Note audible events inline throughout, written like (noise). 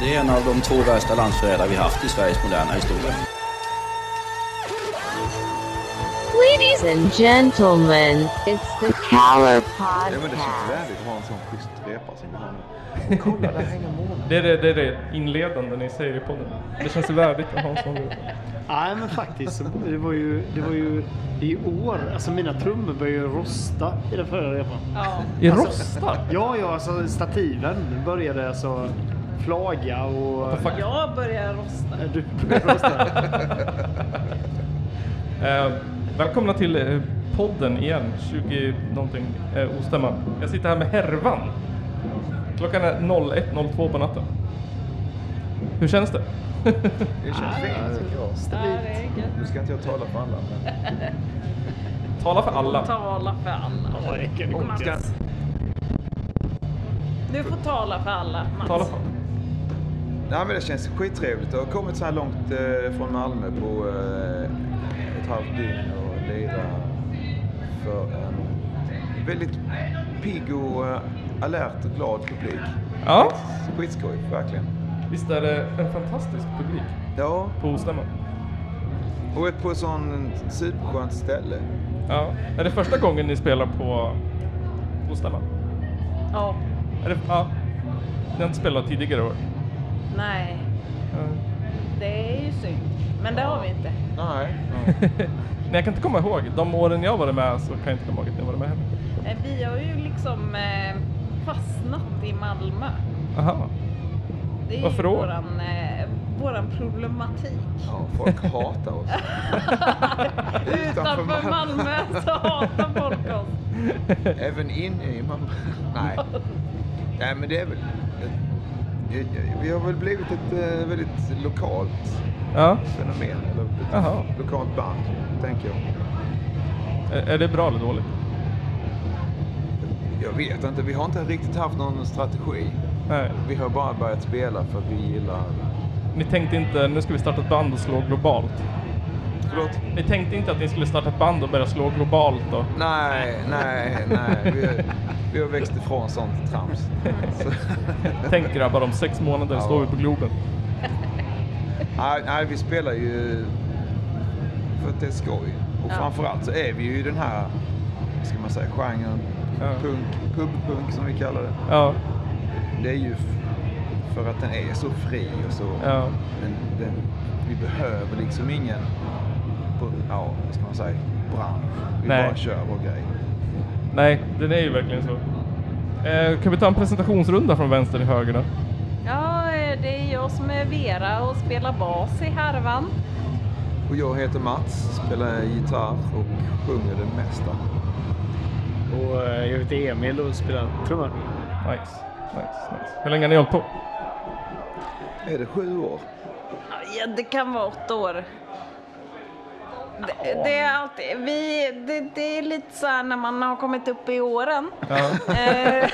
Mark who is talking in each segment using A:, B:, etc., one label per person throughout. A: Det är en av de två värsta landsförrädare vi haft i Sveriges moderna historia.
B: Ladies and gentlemen, it's the Power
C: Ja, men det känns
B: Podcast.
C: värdigt att ha en sån schysst repa som vi har nu.
D: Det är det, det, är det inledande ni säger i podden. Det känns värdigt att ha en sån låt.
E: Nej men faktiskt, så det var ju, det var ju i år, alltså mina trummor började ju rosta i den förra repan.
D: I Rosta?
E: Ja, ja, alltså stativen började alltså flaga och...
D: Fuck.
F: Jag börjar rosta.
E: Eh, Du började rosta.
D: Eh, välkomna till eh, podden igen, 20 någonting, eh, ostämma. Jag sitter här med Härvan. Klockan är 01.02 på natten. Hur känns det? (laughs)
C: Det känns fint tycker jag.
F: Ja, det är gött.
C: Nu ska inte jag tala för alla men...
D: Tala för alla.
F: Tala för alla.
E: Ja, det är gott, ja.
F: Du får tala för alla, Mats.
D: Tala för
C: Nej men det känns skittrevligt. Jag har kommit så här långt eh, från Malmö på eh, ett halvt dygn och lira för en väldigt pigg och eh, alert och glad publik.
D: Ja,
C: Skitskoj, verkligen.
D: visst är det en fantastisk publik
C: Ja,
D: på ostämman?
C: och ett på ett sånt superskönt ställe.
D: Ja. Är det första gången ni spelar på ostämman?
F: Ja.
D: Är det, ja. Ni har inte spelat tidigare år?
F: Nej,
D: Ja.
F: det är ju synd. Men det har vi inte.
C: Nej.
D: Nej, jag kan inte komma ihåg. De åren jag varit med så kan jag inte komma ihåg att ni varit med heller.
F: Eh, Vi har ju liksom eh, fastnat i Malmö.
D: Aha.
F: Det är
D: Varför
F: ju
D: då?
F: våran, eh, våran
D: (laughs)
F: problematik.
C: Ja, folk hatar oss. Utanför
F: Utanför
C: Malmö.
F: Malmö så hatar folk alltså. oss.
C: Även inne i Malmö? Nej. Nej, men det är väl... Vi har väl blivit ett eh, väldigt lokalt
D: (laughs) Ja.
C: fenomen. Eller ett
D: Jaha.
C: lokalt band, tänker jag.
D: Är, är det bra eller dåligt?
C: Jag vet inte, vi har inte riktigt haft någon strategi.
D: Nej.
C: Vi har bara börjat spela för att vi gillar...
D: Ni tänkte inte, nu ska vi starta ett band och slå globalt.
C: Förlåt?
D: Ni tänkte inte att ni skulle starta ett band och börja slå globalt och...
C: Nej, nej, nej. Vi har, vi har växt ifrån sånt trams. Så,
D: Tänk grabbar, om sex månader
C: Ja.
D: står vi på Globen.
C: nej, nej, vi spelar ju för att det är skoj. Och
F: Ja.
C: framförallt så är vi ju i den här, vad ska man säga, genren
D: Ja.
C: punk, pubpunk som vi kallar det.
D: Ja.
C: Det är ju f- för att den är så fri och så.
D: Ja.
C: Den, den, vi behöver liksom ingen, på, ja, vad ska man säga, bransch. Vi
D: Nej.
C: bara kör vår grej.
D: Nej, den är ju verkligen så. Eh, kan vi ta en presentationsrunda från vänster till höger då?
F: Ja, eh, det är jag som är Vera och spelar bas i härvan.
C: Och jag heter Mats, spelar gitarr och sjunger det mesta.
E: (laughs) Och eh, jag heter Emil och spelar trummor.
D: Nice. Nice, nice. Hur länge har ni hållit på?
C: Är det sju år?
F: Ja, det kan vara åtta år. Det, det är alltid, vi, det, det är lite så här när man har kommit upp i åren
D: Ja.
F: (laughs) eh,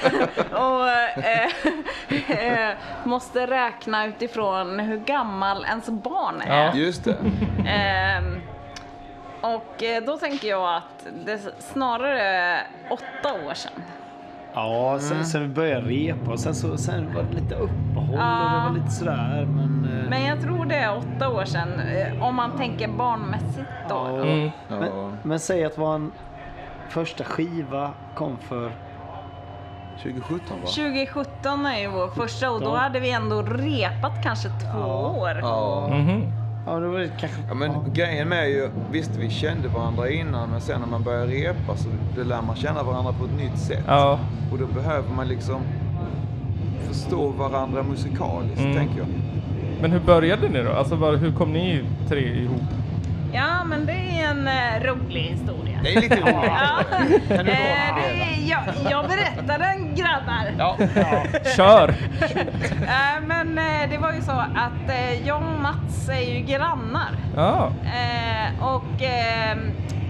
F: och eh, eh, måste räkna utifrån hur gammal ens barn är.
D: Ja.
C: Just
D: (laughs)
C: det.
F: Ehm, och eh, då tänker jag att det är snarare är åtta år sedan.
E: Ja, sen, sen vi började repa och sen, så, sen var det lite uppehåll och det
F: Ja.
E: var lite sådär Ah. men... eh,
F: Men jag tror det är åtta år sedan eh, om man tänker barnmässigt då.
E: ja.
D: Mm.
C: Ja,
E: men, men säg att vår första skiva kom för
C: 2017 va?
F: 2017 är ju vår första och då
E: Ja.
F: hade vi ändå repat kanske två år.
C: Ja.
D: Mhm.
E: Ja, det var det kanske...
C: Ja, men grejen med är ju, visst vi kände varandra innan men sen när man börjar repa så då lär man känna varandra på ett nytt sätt.
D: Ja.
C: Och då behöver man liksom förstå varandra musikaliskt,
D: Mm.
C: tänker jag.
D: Men hur började ni då? Alltså var, hur kom ni tre ihop?
F: Ja, men det är en eh, rolig historia.
C: Det är lite roligt.
F: Ja.
C: (laughs) Kan du
F: Eh,
C: dra
F: det är, jag, jag berättar den grabbar.
C: Ja.
D: Kör! (laughs)
F: Eh, men eh, det var ju så att eh, jag och Mats är ju grannar.
D: Ja.
F: Eh, och ehm,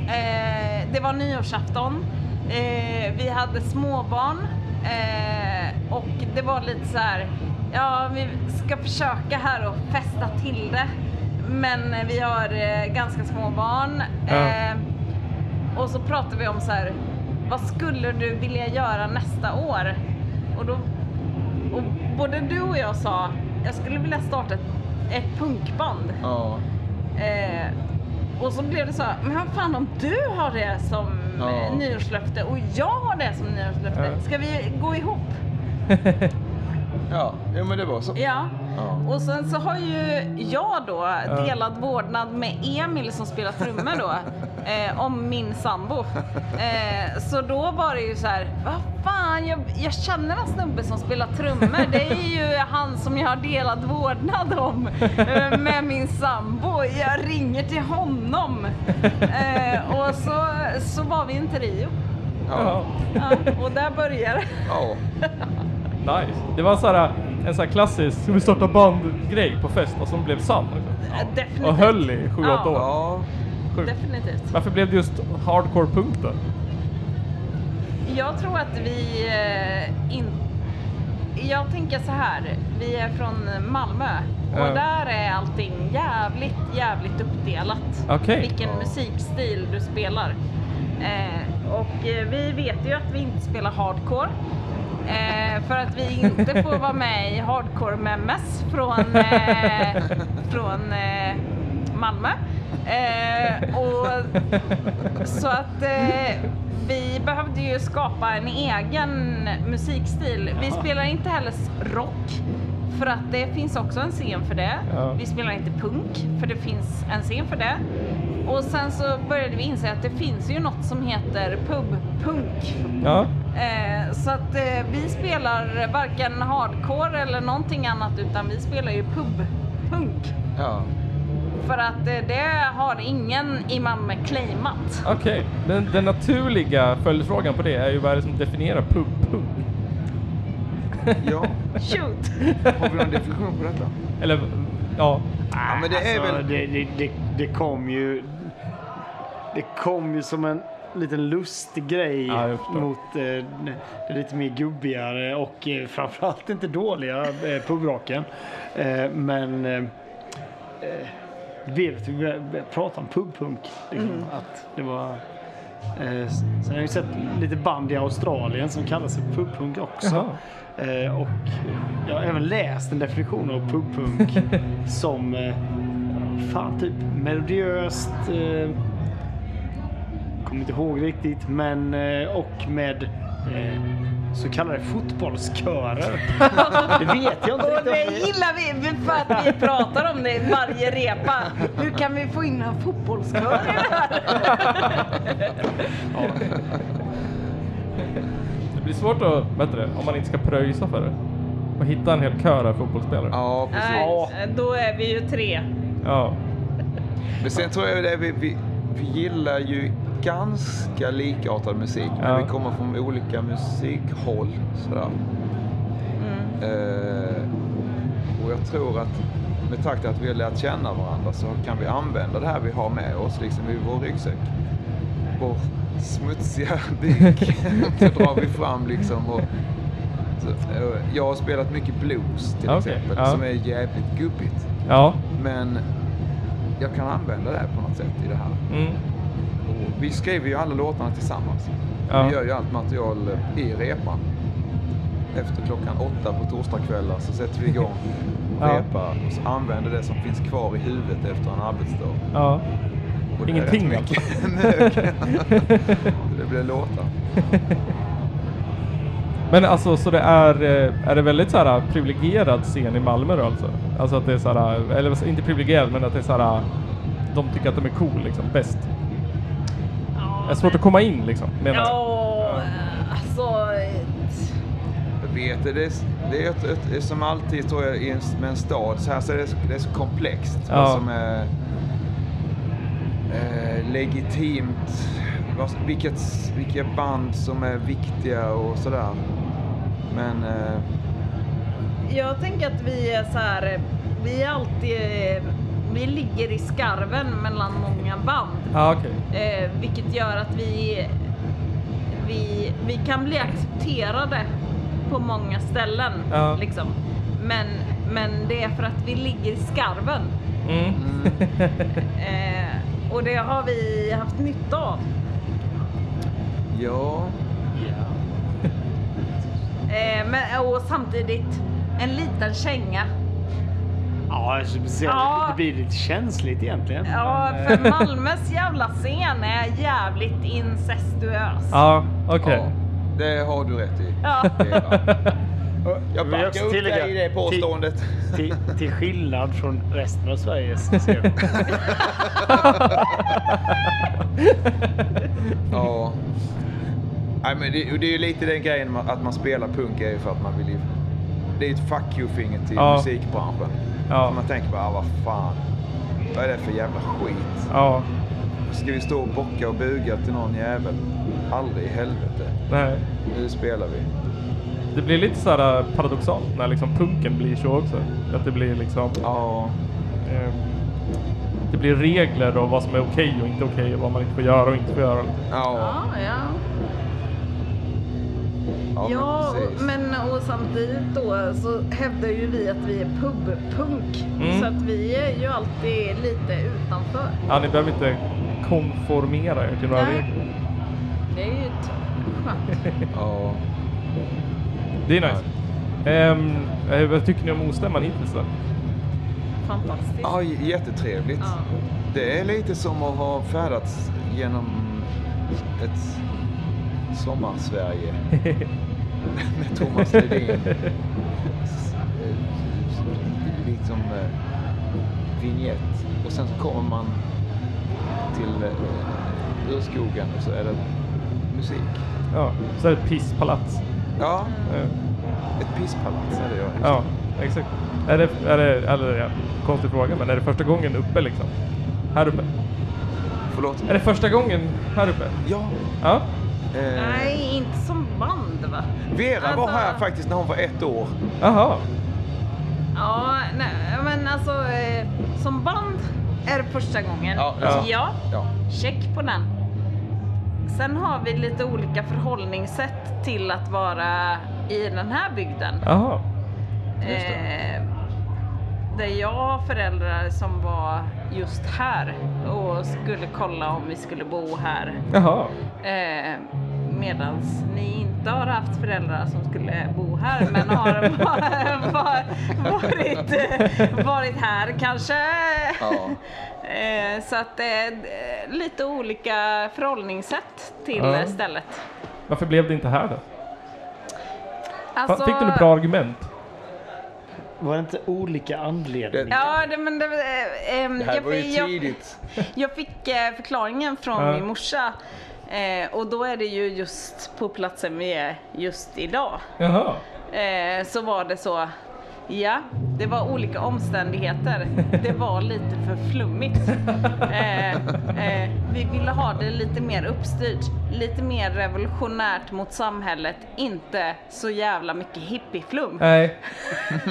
F: eh, det var nyårsafton. Eh, vi hade småbarn eh, och det var lite så här. Ja, vi ska försöka här och festa till det. Men eh, vi har eh, ganska små barn.
D: Ja.
F: Eh, och så pratade vi om så här. Vad skulle du vilja göra nästa år? Och då och både du och jag sa jag skulle vilja starta ett, ett punkband.
C: Ja.
F: Eh, och så blev det så här, men vad fan om du har det som
C: Ja.
F: ja. nyårslöfte och jag har det som nyårslöfte,
D: Ja.
F: ska vi gå ihop?
C: Ja, jo, men det var så.
F: Ja.
C: Ja.
F: Och sen så har ju jag då delat vårdnad med Emil som spelar trummor
D: (laughs)
F: då, eh, om min sambo. Eh, så då var det ju så här, vad fan, jag, jag känner en snubbe som spelar trummor. Det är ju han som jag har delat vårdnad om eh, med min sambo. Jag ringer till honom. Eh, och så, så var vi inte Rio.
C: Ja.
F: Ja, och där började det.
C: ja.
D: Nice. Det var så här, en sån här klassisk ska vi starta band-grej på fest och som blev sann. Liksom.
F: Definitivt.
D: Och höll i 7-8
F: Ja.
D: år.
C: ja.
D: Sjukt.
F: Definitivt.
D: Varför blev det just hardcore punk då?
F: Jag tror att vi eh, in... Jag tänker så här, vi är från Malmö och
D: Ja.
F: där är allting jävligt, jävligt uppdelat.
D: Okej.
F: Vilken
C: Ja.
F: musikstil du spelar. Eh, och eh, vi vet ju att vi inte spelar hardcore. Eh, för att vi inte
D: (laughs)
F: får vara med i Hardcore Memes från,
D: (laughs)
F: eh, från eh, Malmö. Eh, och så att eh, vi behövde ju skapa en egen musikstil. Vi spelar inte heller s- rock för att det finns också en scen för det.
D: Ja.
F: Vi spelar inte punk för det finns en scen för det. Och sen så började vi inse att det finns ju något som heter pubpunk.
D: (laughs) Ja.
F: Eh, så att eh, vi spelar varken hardcore eller någonting annat utan vi spelar ju pubpunk.
C: ja.
F: För att eh, det har ingen i Malmö
D: (laughs)
F: claimat.
D: Okej, den, den naturliga följdfrågan på det är ju vad är det som definierar pub-punk?
C: ja.
F: Shoot!
C: Har vi någon definition på detta?
D: Eller, ja.
C: Ja, men det är
E: alltså,
C: väl...
E: det, det, det, det kom ju... Det kom ju som en liten lustig
D: Ja, jag förstår.
E: mot eh, det lite mer gubbigare och eh, framförallt inte dåliga eh, pubrocken. Eh, men... Eh, eh, det blev att vi började började prata om pubpunk. Liksom, att det var... Eh, s- sen har jag ju sett lite band i Australien som kallar sig pubpunk också.
D: Jaha.
E: Eh, och jag har även läst en definition av pubpunk som eh, fan typ melodiöst. Eh, kommer inte ihåg riktigt men eh, och med eh, så kallade fotbollskörer. det vet jag inte
F: Och
E: riktigt. om
F: det
E: det-
F: gillar vi vi- för att vi pratar om det i varje repa. Hur kan vi få in en fotbollskör i det här?
D: Det blir svårt att, bättre, om man inte ska pröjsa för det. Och hitta en hel kör av fotbollsspelare.
C: Ja, precis.
F: Nej, då är vi ju tre.
D: Ja.
C: Men sen tror jag det är vi, vi, vi gillar ju ganska likartad musik.
D: Ja.
C: Men vi kommer från olika musikhåll. Sådär. Eh, och jag tror att med takt att vi har lärt känna varandra så kan vi använda det här vi har med oss liksom i vår ryggsäck. Vår smutsiga (laughs) byk. så drar vi fram liksom. Och, så, eh, jag har spelat mycket blues till
D: Okej,
C: exempel
D: ja.
C: som är jävligt gubbigt.
D: Ja.
C: Men jag kan använda det här på något sätt i det här.
D: Mm.
C: Och vi skriver ju alla låtarna tillsammans.
D: Ja.
C: Vi gör ju allt material i repan. Efter klockan åtta på torsdagskvällar så sätter vi igång och
D: (laughs) Ja.
C: repar och så använder det som finns kvar i huvudet efter en arbetsdag.
D: Ja.
C: Och det är
D: Ingenting
C: rätt
D: alltså.
C: mycket. (laughs) Nej,
D: (laughs)
C: Det blir låtar.
D: Men alltså, så det är, eh, är det väldigt så här privilegierad scen i Malmö då alltså? Alltså att det är så här, eller inte privilegierad, men att det är så här, eh, de tycker att de är cool liksom, bäst. Det är svårt att komma in liksom, menar jag.
F: Ja, alltså...
C: Jag vet det, det är, det är, ett, ett, det är som alltid tror jag i en, med en stad, så här så är det, det är så komplext.
D: Ja.
C: Vad som är eh, legitimt, vad, som- vilket, vilka band som är viktiga och sådär. Men eh,
F: Jag tänker att vi är så här, vi är alltid, vi ligger i skarven mellan många band.
D: Ja, Ah, okej.
F: Eh, vilket gör att vi, vi, vi kan bli accepterade på många ställen.
D: Ja.
F: Liksom. Men, men det är för att vi ligger i skarven.
D: Mm.
F: (laughs) Eh, och det har vi haft nytta av.
C: ja,
F: Eh, men, och samtidigt en liten känga
E: Ja, alltså, speciellt-
F: Ja.
E: det blir lite känsligt egentligen.
F: Ja, för Malmös jävla scen är jävligt incestuös.
D: (laughs) Ja,
C: (laughs)
D: okej.
C: Ja, det har du rätt
E: (laughs)
C: i.
F: Ja.
C: Det är bra. Jag
E: vill
C: backar
E: också
C: upp
E: tillägga-
C: dig i det påståendet.
E: eh, Till, till skillnad från resten av Sveriges scen.
C: Ja. (laughs) Nej, men det, och det är ju lite den grejen med att man spelar punk är ju för att man vill ju... Det är ju ett fuck you-finger till
D: Ja.
C: musikbranschen.
D: Ja.
C: För Man tänker bara, ah, vad fan. Vad är det för jävla skit?
D: Ja,
C: Ska vi stå och bocka och buga till någon jävel? Aldrig i helvete.
D: nej.
C: Nu spelar vi.
D: Det blir lite så här eh, paradoxalt när liksom punken blir så också. Att det blir liksom...
C: Ja.
D: Eh, det blir regler om vad som är okej och inte okej och vad man inte får göra och inte får göra.
C: Ja.
F: Ja, ja.
C: Ja,
F: Ja,
C: men precis.
F: och- men och samtidigt då så hävdar ju vi att vi är pubpunk.
D: Mm.
F: Så att vi är ju alltid lite utanför.
D: Ja, ni behöver inte konformera er till några
F: Nej.
D: regler.
F: Det är ju ett-
C: Ja.
D: Det är nice. Ehm, eh, vad tycker ni om ostämman hittills då?
F: fantastiskt.
C: Ja, j- jättetrevligt.
F: Ja.
C: Det är lite som att ha färdats genom ett sommarsverige med Thomas Ledin. S- eh, liksom eh, vignett. Och sen så kommer man till eh, urskogen och så är det musik.
D: (laughs) Ja, så är det ett pisspalats.
C: Ja,
D: Eh,
C: ett pisspalats är det jag.
D: Ja, exakt. Är det, är det, eller ja, konstig fråga, men är det första gången uppe liksom? Här uppe?
C: Förlåt.
D: Är det första gången här uppe?
C: Ja.
D: Ja.
C: Eh,
F: Nej, inte som band va?
C: Vera var
F: Alltså-
C: här faktiskt när hon var ett år.
D: Jaha.
F: Ja, nej, men alltså eh, som band är det första gången.
C: Ja,
D: ja.
F: ja.
C: Ja.
F: Check på den. Sen har vi lite olika förhållningssätt till att vara i den här bygden.
D: Jaha.
C: Just
F: Eh, där jag har föräldrar som var just här och skulle kolla om vi skulle bo här.
D: Jaha.
F: Eh, medans ni inte har haft föräldrar som skulle bo här men har (laughs) var, var, varit, eh, varit här kanske.
C: Ja.
F: Eh, så att det är eh, lite olika förhållningssätt till
D: Ja.
F: eh, stället.
D: Varför blev det inte här då?
F: Alltså-
D: Fick du några bra argument?
E: Var det inte olika anledningar?
F: Ja, det, men det, eh, ehm,
C: Det här
F: jag,
C: var ju
F: fick- jag-
C: tidigt.
F: Jag fick eh, förklaringen från
D: Ja.
F: min morsa eh, och då är det ju just på platsen vi är just idag.
D: Jaha.
F: Eh, så var det så, ja, det var olika omständigheter. Det var lite för flummigt. Eh, eh, vi ville ha det lite mer uppstyrt, lite mer revolutionärt mot samhället, inte så jävla mycket hippieflum.
D: Nej.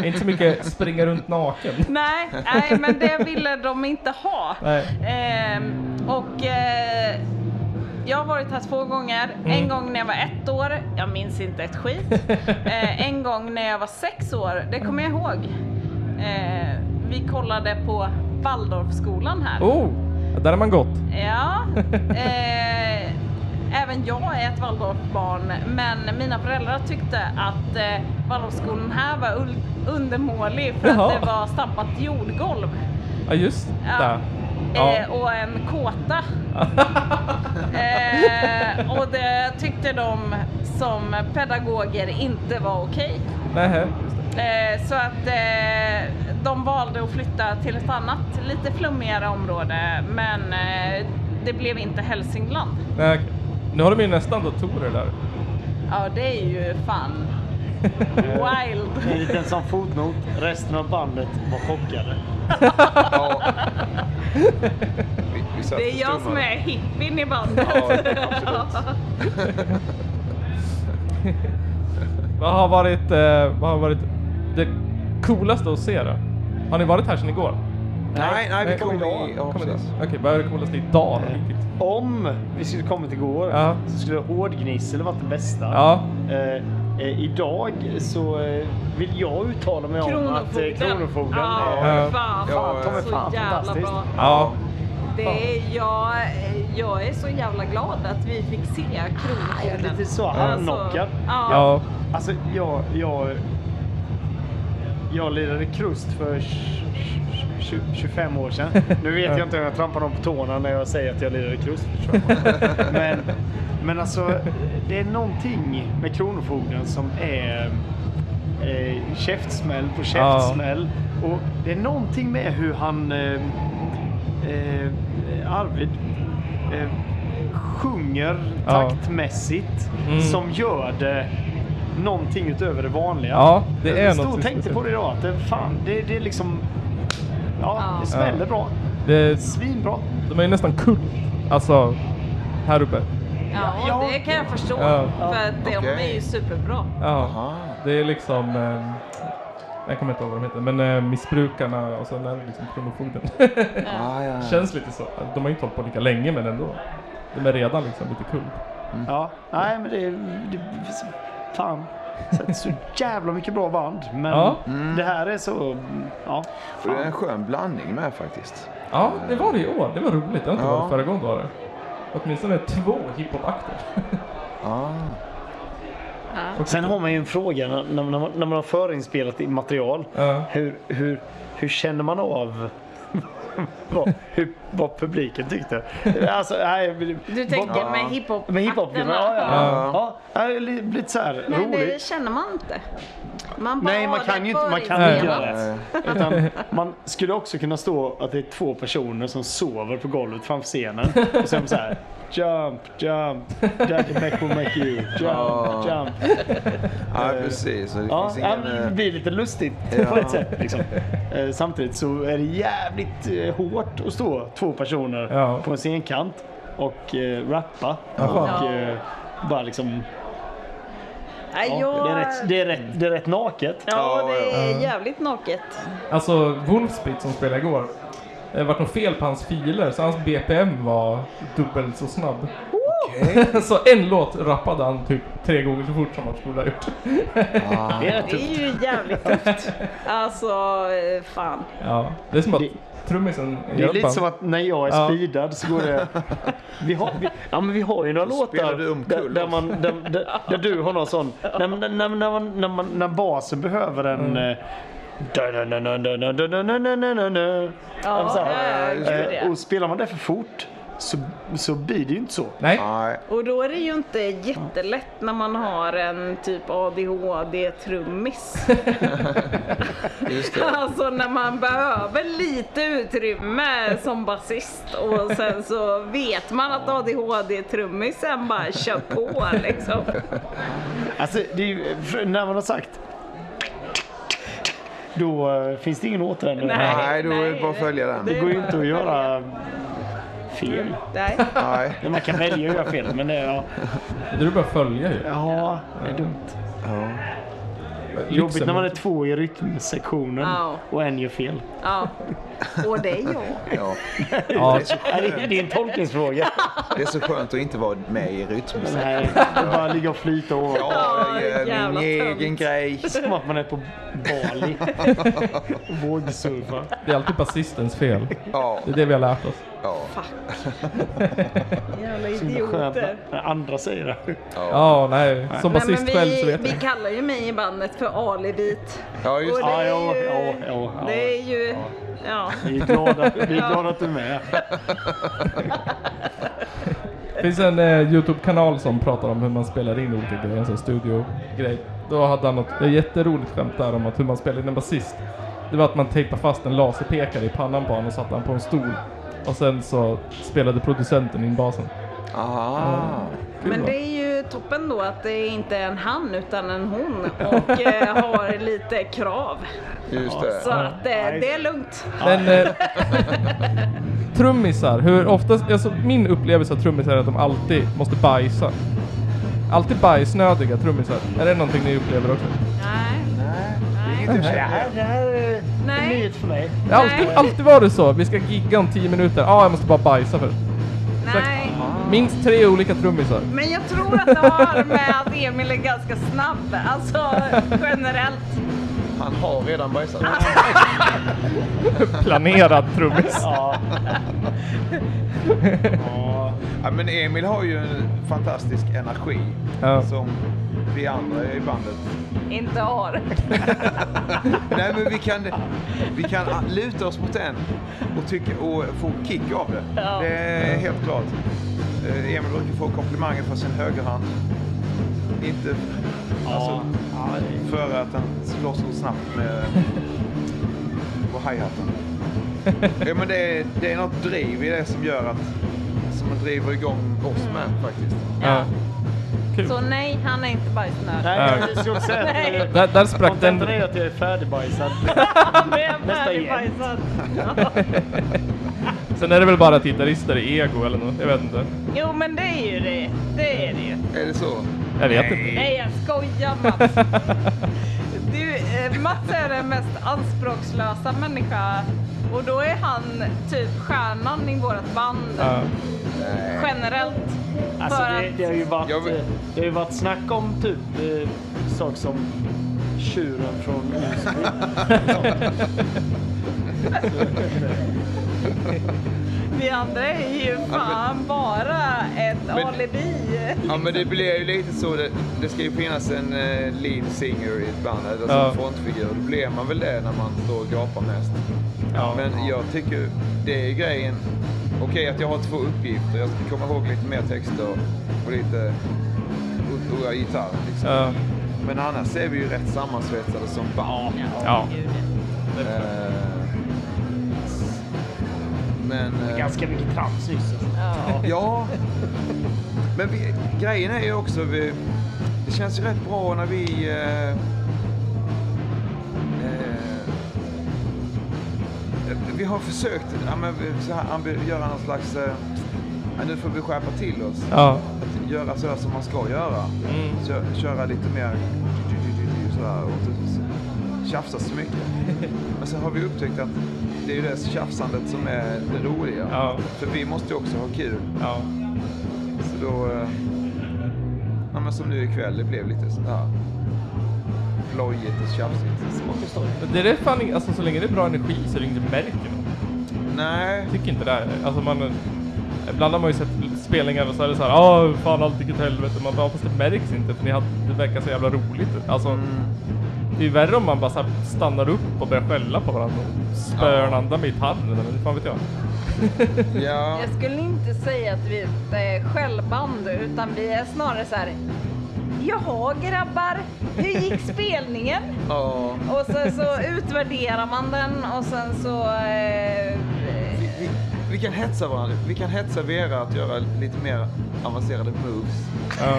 D: inte så mycket springa runt naken.
F: Nej, nej, men det ville de inte ha.
D: Nej.
F: Ehm, och eh, jag har varit här två gånger. En gång när jag var ett år, jag minns inte ett skit. Eh, en gång när jag var sex år, det kommer jag ihåg. Eh, vi kollade på Waldorfskolan här.
D: Oh, där har man gått.
F: Ja, eh, även jag är ett Waldorfbarn men mina föräldrar tyckte att eh, Waldorfskolan här var ul- undermålig för
D: Jaha.
F: att det var stampat jordgolv
D: Ja, just
F: Ja.
D: det.
F: eh, och en kåta. eh, och det tyckte de som pedagoger inte var okej.
D: Nähä.
F: Eh, så att eh, de valde att flytta till ett annat lite flummigare område men eh, det blev inte Hälsingland.
D: Nej, okej. Nu har de ju nästan datorer där.
F: Ja det är ju fan wild.
E: En liten sån fotnot. Resten av bandet var chockade.
C: Ja. Vi, vi satt
F: Det är jag som
C: förstummade.
F: är hippien i bandet.
C: Ja, absolut.
D: Vad har varit, eh, vad har varit det coolaste att se då? Har ni varit här sedan igår?
C: Nej, nej, vi
D: kom
C: kom
D: idag.
C: i... Ja,
D: Kom idag.
C: precis.
D: Okej, vad är det coolaste idag då? riktigt?
E: Om vi skulle kommit igår
D: Ja.
E: så skulle hårdgnissel varit det bästa.
D: Ja.
E: Eh, eh, idag så eh, vill jag uttala mig om att eh,
F: (laughs) Kronofogden.
E: Kronofogden
F: Ja,
E: är
D: Ja.
F: fan.
C: Ja,
E: de är
F: så
E: fan
F: jävla
E: fantastiskt.
F: bra.
D: Ja.
F: Det är, jag, jag är så jävla glad att vi fick se
E: Jag är
F: Kronofogden.
E: lite så
F: Alltså,
E: handknockad.
F: ja.
D: Ja.
E: Alltså jag, jag, jag lirade krust för tj- tj- tj- 25 år sedan. Nu vet jag inte om jag trampar dem på tårna när jag säger att jag lirade krust för 25 år sedan. Men, men alltså, det är någonting med Kronofogden som är eh, käftsmäll på käftsmäll. Och det är någonting med hur han, eh, eh, Arvid, eh, sjunger
D: Ja.
E: taktmässigt
D: Mm.
E: som gör det någonting utöver det vanliga.
D: Ja, det är
E: jag stod
D: något
E: och tänkte
D: speciellt.
E: på det idag. Att det, fan, det, det är liksom... Ja,
F: Ja.
E: det smäller
D: Ja.
E: bra.
D: (laughs) Det,
E: Svinbra.
D: de är ju nästan kult, alltså, här uppe.
F: Ja, och
E: Ja.
F: det kan jag förstå.
D: Ja.
F: För att de
C: Okej.
F: är ju superbra.
D: Ja,
C: Aha.
D: det är liksom... Eh, jag kommer inte ihåg vad de heter, men eh, missbrukarna och sen är det liksom (laughs) Kronofogden.
C: Ah, ja.
D: Känns lite så. Alltså, De har ju inte hållit på lika länge, men ändå. De är redan liksom lite kul.
E: Ja, nej men det... det fan. Så, det är så jävla mycket bra band. Men
D: Ja.
E: det här är så... Ja.
C: Och det är en skön blandning med faktiskt.
D: Ja, det var det i år. Det var roligt. Det har inte
C: Ja.
D: varit föregående år. Åtminstone två
E: (laughs)
D: hiphop-akter.
C: Ah.
E: Sen har man ju en fråga när, när, man- när man har förinspelat i material.
D: Ja.
E: Hur, hur, hur känner man av (laughs) vad, hur, vad publiken tyckte? Alltså, nej,
F: Du tänker med hiphop?
E: Med hiphop? Ja, ja. ja. ja. det är li- lite så här
F: Nej, det
E: roligt.
F: känner man inte. Man bara
E: Nej, man
F: har
E: kan
F: det
E: ju inte, man kan
D: förinspelat.
E: inte göra det. Utan man skulle också kunna stå att det är två personer som sover på golvet framför scenen. Och sen så här. Jump, jump, daddy Mac will make you.
C: Ja.
E: Jump, jump.
C: Ja,
D: Eh,
C: precis. Så Det
E: Ja,
C: finns
E: ja,
C: ingen...
E: men det
C: eh,
E: blir lite lustigt på ett sätt. Liksom. Eh, Samtidigt så är det jävligt eh, hårt att stå två personer
D: Ja.
E: på en scenkant och eh, rappa.
D: Ja.
E: Och eh, bara liksom...
F: Nej,
E: Ja,
F: jag...
E: det, är rätt, det, är rätt, det är rätt naket.
F: Ja, det
D: Ja.
F: är jävligt naket.
D: Alltså, Wolfspit som spelade igår. Det vart något fel på hans filer, så hans BPM var dubbelt så snabb. (laughs) så en låt rappade han typ tre gånger så fort som han skulle ha gjort. (laughs)
E: Det är rätt
F: Det
E: tufft.
F: är ju jävligt tufft. Alltså, eh, fan.
D: Ja, det är som att
E: Det-
D: trummisen
E: Det är lite som att när jag är
D: Ja.
E: speedad så går det... Vi har, vi, ja men vi har ju några
C: spelar
E: låtar
C: du omkull
E: där, där, man, där, där, där du har någon sån... När, när, när, när, man, när, man, när basen behöver en... eh, dun-dun-dun-dun-dun-dun-dun-dun-dun-dun. Ja, men så här,
F: ja, just det.
E: Alltså, eh, Och spelar man det för fort så, så blir det ju inte så.
D: Nej,
C: Nej.
F: Och då är det ju inte jättelätt när man har en typ ADHD-trummis.
C: Just det.
F: Alltså när man behöver lite utrymme som basist och sen så vet man att ADHD-trummisen bara kör på liksom.
E: Alltså, det är, ju- för när man har sagt... Då eh, finns det ingen återvändo.
F: Nej,
C: Nej, då är det
F: nej,
C: bara att följa den.
E: Det går ju inte att göra fel.
F: Nej.
C: Nej.
E: Man kan välja att göra fel, men det... Ja.
D: det är bara att följa ju.
E: Ja, det är dumt. Jobbigt
D: Lyxen-
E: när man är två i rytmsektionen
F: Ja.
E: och en gör fel.
F: Ja. Och det är jag.
C: Ja.
D: Ja,
E: Nej, det, det är en
F: (laughs)
E: tolkningsfråga.
C: Det är så skönt att inte vara med i rytmmusik.
E: Nej, det bara ligga och flyta och
C: Ja, jag
F: Ja,
C: gör
F: jävla
C: min egen
F: tönt.
C: grej.
E: som att man är på
D: (laughs)
E: Bali. Vågsurfa.
D: det är alltid basistens fel.
C: Ja,
D: Det är det vi har lärt oss.
C: ja.
F: Jävla
E: Skönt
F: idioter.
E: när andra säger det.
D: Ja, nej. Som
F: Nej,
D: basist
F: men
D: själv så
F: vi,
D: vet
F: vi
D: jag.
F: kallar ju mig i bandet för Alibit.
C: Ja, just
F: Och
C: det.
E: Ja,
F: det
E: ja,
F: är ju...
E: ja, ja, ja.
F: Det är ju... Ja.
E: Vi är glada, vi är glada att du är med.
D: Det finns en eh, Youtube-kanal som pratar om hur man spelar in olika grejer, en sån studiogrej. Då hade han något ett jätteroligt skämt där om att hur man spelar in en basist. Det var att man tejpade fast en laserpekare i pannan på honom och satte han på en stol. Och sen så spelade producenten in basen.
C: Aha.
D: Kul,
F: Men
D: va?
F: det är ju toppen då att det inte är en han utan en hon och eh, har lite krav.
C: Just
F: Så
C: det.
F: att eh, det är lugnt.
D: Men, eh, trummisar, hur ofta... Alltså, min upplevelse av trummisar är att de alltid måste bajsa. Alltid bajsnödiga trummisar. Är det någonting ni upplever också?
F: Nej.
E: Det här, det här är en
F: Nej.
E: nyhet för mig.
D: Det har alltid,
F: Nej.
D: alltid var det så. Vi ska gigga om 10 minuter. Ja, ah, jag måste bara bajsa först.
F: Nej.
D: Minst tre olika trummisar.
F: Men jag tror att det har med att Emil är ganska snabb. Alltså generellt.
C: Han har redan bajsat.
F: (laughs)
D: Planerad trummis.
E: Ja. Ja.
C: Ja, men Emil har ju en fantastisk energi
D: Ja.
C: som vi andra i bandet.
F: Inte har.
C: Nej men vi kan, vi kan a- luta oss mot den och, tycka, och få kick av det.
F: Ja.
C: Det är helt klart. Eh, Emil brukar få komplimanger för sin högerhand. Inte alltså,
E: ja, det-
C: för att han slår så snabbt med,
E: (laughs)
C: på hi-haten. Ja, men det, är, det är något driv i det som gör att som man driver igång oss med faktiskt.
D: Ja.
F: Ja.
D: Kul.
F: Så nej, han är inte bajsnödig.
E: Nej,
D: Ja.
E: jag skulle också säga
F: Nej.
E: att eh,
D: Där, där sprack den.
E: kontentan är att jag är färdigbajsad.
F: Men jag är
E: Nästa igen.
F: färdigbajsad.
D: Sen är det väl bara tittarister i ego eller något. Jag vet inte.
F: Jo men det är ju det. Det är det
E: Mm.
F: ju.
C: Är det så?
D: Jag vet inte.
F: Nej jag skojar Mats. Du, eh, Mats är den mest anspråkslösa människa och då är han typ stjärnan i vårt band
D: Ja.
F: generellt.
E: Alltså,
F: för
E: det,
F: att,
E: det, har ju varit,
C: Jag vill-
E: eh, det har ju varit snack om typ eh, saker som tjuren från Osby.
F: vi andra är ju fan bara ett
C: Men-
F: alibi.
C: Ja men det blir ju lite så. Det, det ska ju finnas en eh, lead singer i ett band, alltså
D: Ja.
C: en frontfigur. Då blir man väl det när man står och gapar mest.
D: Ja.
C: Men jag tycker det är ju grejen. Okej att jag har två uppgifter. Jag ska komma ihåg lite mer texter och lite och, och gitarr liksom.
D: Ja.
C: Men annars är vi ju rätt sammansvetsade som barn.
D: Ja.
F: Gud,
C: Eh, Men... eh,
E: Ganska mycket trams nyss. alltså.
F: Ja.
C: Ja. Men vi, grejen är ju också... Vi, det känns ju rätt bra när vi... Eh, eh, vi har försökt ja, men, vi- så här, ambi- göra någon slags... Eh, ja, nu får vi skärpa till oss.
D: Ja.
C: Att göra sådär som man ska göra.
D: Mm.
C: Kö, köra lite mer... Sådär, och inte tjafsa så
D: (laughs)
C: mycket. Men sen har vi upptäckt att det är ju det tjafsandet som är det roliga.
D: Ja.
C: För vi måste ju också ha kul.
D: Ja.
C: Så då... eh, Ja, men som nu ikväll, det blev lite sådär plojigt och tjafsigt.
D: Men Det är fan, ing- alltså, så länge det är bra energi så är det inget märker något.
C: Nej,
D: tycker inte det. Här. Alltså man, ibland har man ju sett spelningar och så är det så här, ja fan allt gick åt helvete. Man bara, fast det märks inte för ni hade, det verkar så jävla roligt. Alltså, Det är ju värre om man bara så här stannar upp och börjar skälla på varandra och spöar den andra med gitarren eller vad fan vet jag.
C: ja...
F: Jag skulle inte säga att vi är ett eh, självband utan vi är snarare så här. Jaha grabbar, hur gick spelningen?
C: ja
F: Och sen så utvärderar man den och sen så... Eh,
C: vi, vi, vi kan hetsa varandra. Vi kan hetsa Vera att göra lite mer avancerade moves.
D: Ja.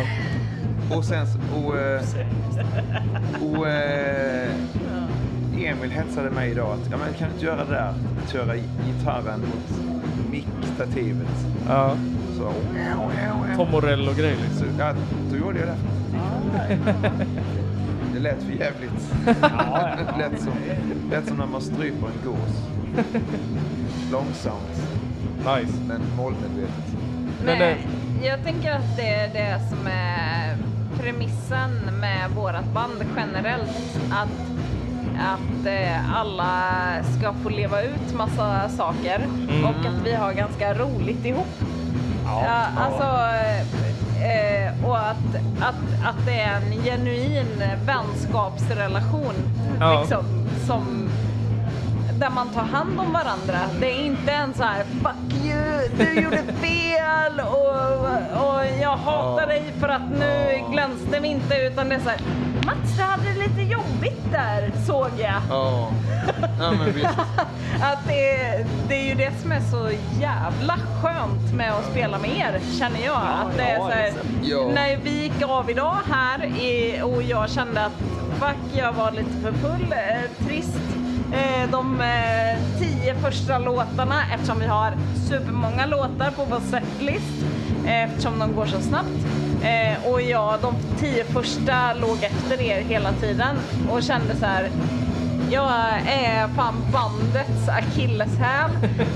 C: Och sen... så- Och, eh, och eh, Emil hetsade mig idag att ja, men kan du inte göra det där? Att köra gitarren mot mickstativet.
D: ja.
C: Så,
D: Tom Morello-grej liksom.
C: så ja, då gjorde jag det. (laughs) Det lät för jävligt. Det lät som, lät som när man stryper en gås. Långsamt,
D: liksom. Nice.
C: men målmedvetet.
D: Men,
F: men, jag tänker att det är det som är premissen med vårat band generellt. Att, att eh, alla ska få leva ut massa saker och att vi har ganska roligt ihop. Ja, alltså, eh, eh, och att, att, att det är en genuin vänskapsrelation.
D: Ja.
F: Liksom, som, där man tar hand om varandra. Det är inte en så här fuck you, du (laughs) gjorde fel och, och jag hatar dig för att nu glänste den inte. Utan det är så här, Mats du hade det lite jobbigt där såg jag.
C: Ja, ja men visst.
F: (laughs) Att det, det är ju det som är så jävla skönt med att spela med er, känner jag. att det är
E: ja,
F: så här,
E: liksom.
C: Ja.
F: När vi gick av idag här i, och jag kände att fuck, jag var lite för full, eh, trist. Eh, de eh, tio första låtarna, eftersom vi har supermånga låtar på vår setlist, eh, eftersom de går så snabbt. Eh, och jag, de tio första låg efter er hela tiden och kände så här, jag är fan bandets (laughs) akilleshäl.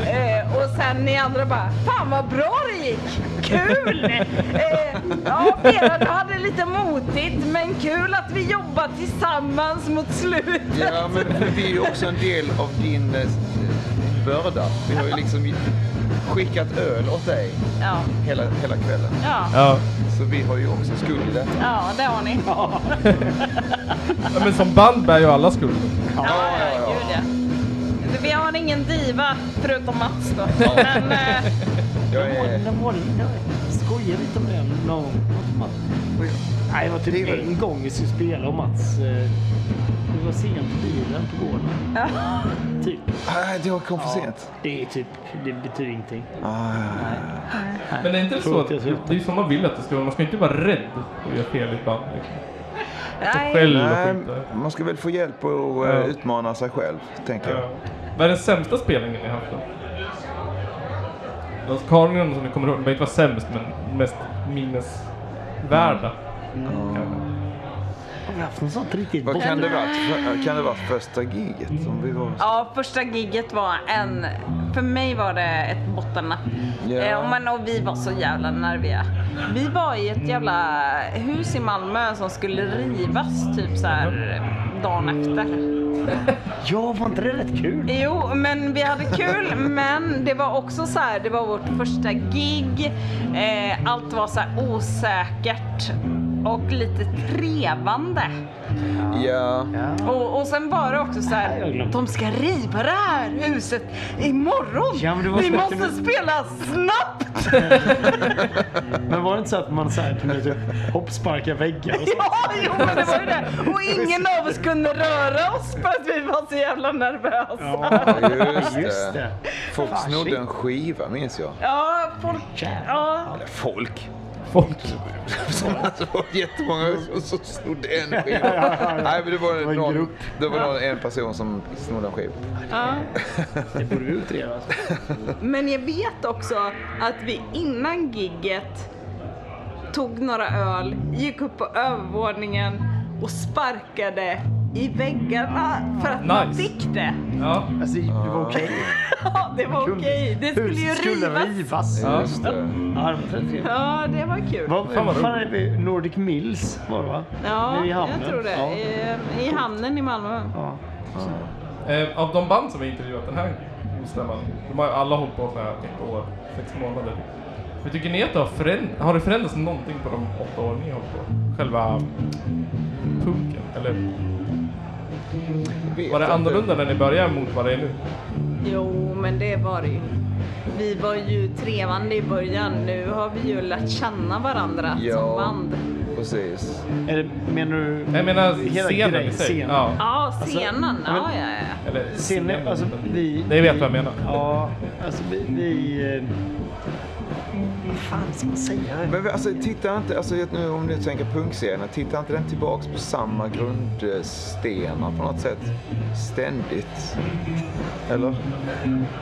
F: Eh, och sen ni andra bara, fan vad bra det gick! (laughs) Kul! Eh, ja, Vera, du hade lite motigt, men kul att vi jobbar tillsammans mot slutet.
C: Ja, men för vi är ju också en del av din eh, börda. Vi har ju liksom skickat öl åt dig
F: Ja.
C: hela, hela kvällen.
F: Ja.
D: Ja.
C: Så vi har ju också skuld i detta.
F: ja, det har ni. Ja,
D: ja, men som band bär ju alla skuld.
F: ja,
C: ja, ja.
F: gud ja. Vi har ingen diva förutom Mats då. Men, eh,
C: Jag är...
E: När var det? Jag skojar lite om det någon gång. Nej, det var typ
C: Driver du?
E: en gång vi skulle spela och Mats... eh, Vi var sent på bilen på gården.
F: ja.
E: Typ.
C: Ah, det kom för sent.
E: Det är typ... Det betyder ingenting.
C: Ah.
D: Men det är inte så att,
E: Punkt, jag
D: det
E: ser
D: är ju som man vill att det ska vara. Man ska inte vara rädd att göra fel i ett band. Liksom.
F: Nej,
D: Själv
C: Nej,
D: och skit där.
C: man ska väl få hjälp att eh,
D: Ja.
C: utmana sig själv, tänker jag.
D: Ja. Vad är den sämsta spelningen ni har haft då? Los Carnion som ni kommer ihåg, den behöver inte vara sämst men mest minnesvärda.
E: Har vi haft något sånt riktigt
C: Vad kan
E: botten?
C: det varit? Kan det varit första giget som vi var?
F: ja, första gigget var en... För mig var det ett bottennapp.
C: Ja.
F: Eh, och men, och vi var så jävla nerviga. Vi var i ett jävla hus i Malmö som skulle rivas typ så här eh, dagen efter.
E: Ja, var inte det rätt kul?
F: Jo, men vi hade kul, (laughs) men det var också så här, det var vårt första gig. Eh, allt var så här osäkert och lite trevande.
C: Ja.
E: Ja.
F: Och, och sen var det också så
E: Nej, jag
F: här,
E: glömde.
F: de ska riva det här huset imorgon.
E: Ja, men det var
F: vi
E: så att-
F: måste spela snabbt. (laughs)
E: Men var det inte så att man så här kunde typ hoppsparka väggar och så?
F: Ja, jo, men det var ju det.
E: (laughs)
F: Och ingen av oss kunde röra oss för att vi var så jävla nervösa.
C: Just det.
E: Just det.
C: Folk
E: Fan,
C: snodde
E: shit.
C: en skiva, minns jag.
F: Ja, folk... Ja,
C: Eller folk.
D: Folk.
C: Alltså, Det var jättemånga som- som snodde en skiva. Nej, men det var,
E: Det var en
C: någon,
E: grupp.
C: det var någon, en person som snodde en skiva.
F: ja.
E: Det borde vi utreda. alltså.
F: Men jag vet också att vi innan gigget tog några öl, gick upp på övervåningen och sparkade i väggarna för att man
D: Nice.
F: fick det.
D: Mm. Ja.
E: Alltså, det var okej.
F: Ja, det var okej. Det skulle ju
E: Huset skulle
F: rivas.
E: rivas.
D: Ja.
C: Just det.
E: Ja, det var trevligt.
F: Ja, det var kul.
E: Vad fan är vi? Nordic Mills var det va?
F: Ja,
E: Nere i hamnen.
F: jag tror det.
E: Ja.
F: I, I hamnen i Malmö.
E: Ja.
D: Eh, av de band som vi intervjuat den här stämman, de har ju alla hållit på så här ett år, sex månader. Hur tycker ni att det har förändrats? Har det förändrats någonting på de åtta år ni har hållit på? Själva punken? Eller
C: Vet
D: var det
C: inte.
D: annorlunda när ni började mot vad det är nu?
F: Jo, men det var det ju. Vi var ju trevande i början. Nu har vi ju lärt känna varandra som
C: Ja,
F: band.
C: precis.
E: Eller menar du?
D: Jag menar
E: Hela
D: scenen
E: grej-
D: i sig.
E: scenen.
D: Ja.
F: Ja, scenen.
E: men-
F: ja, ja, ja.
D: Eller
E: Scenen, alltså vi...
D: Ni vet vad jag menar.
E: Ja, alltså vi... vi eh, vad fan ska man säga?
C: Men vi- alltså, titta inte, alltså, jag vet nu om ni tänker punkscenen, titta inte den tillbaks på samma grundstenar på något sätt ständigt? Eller?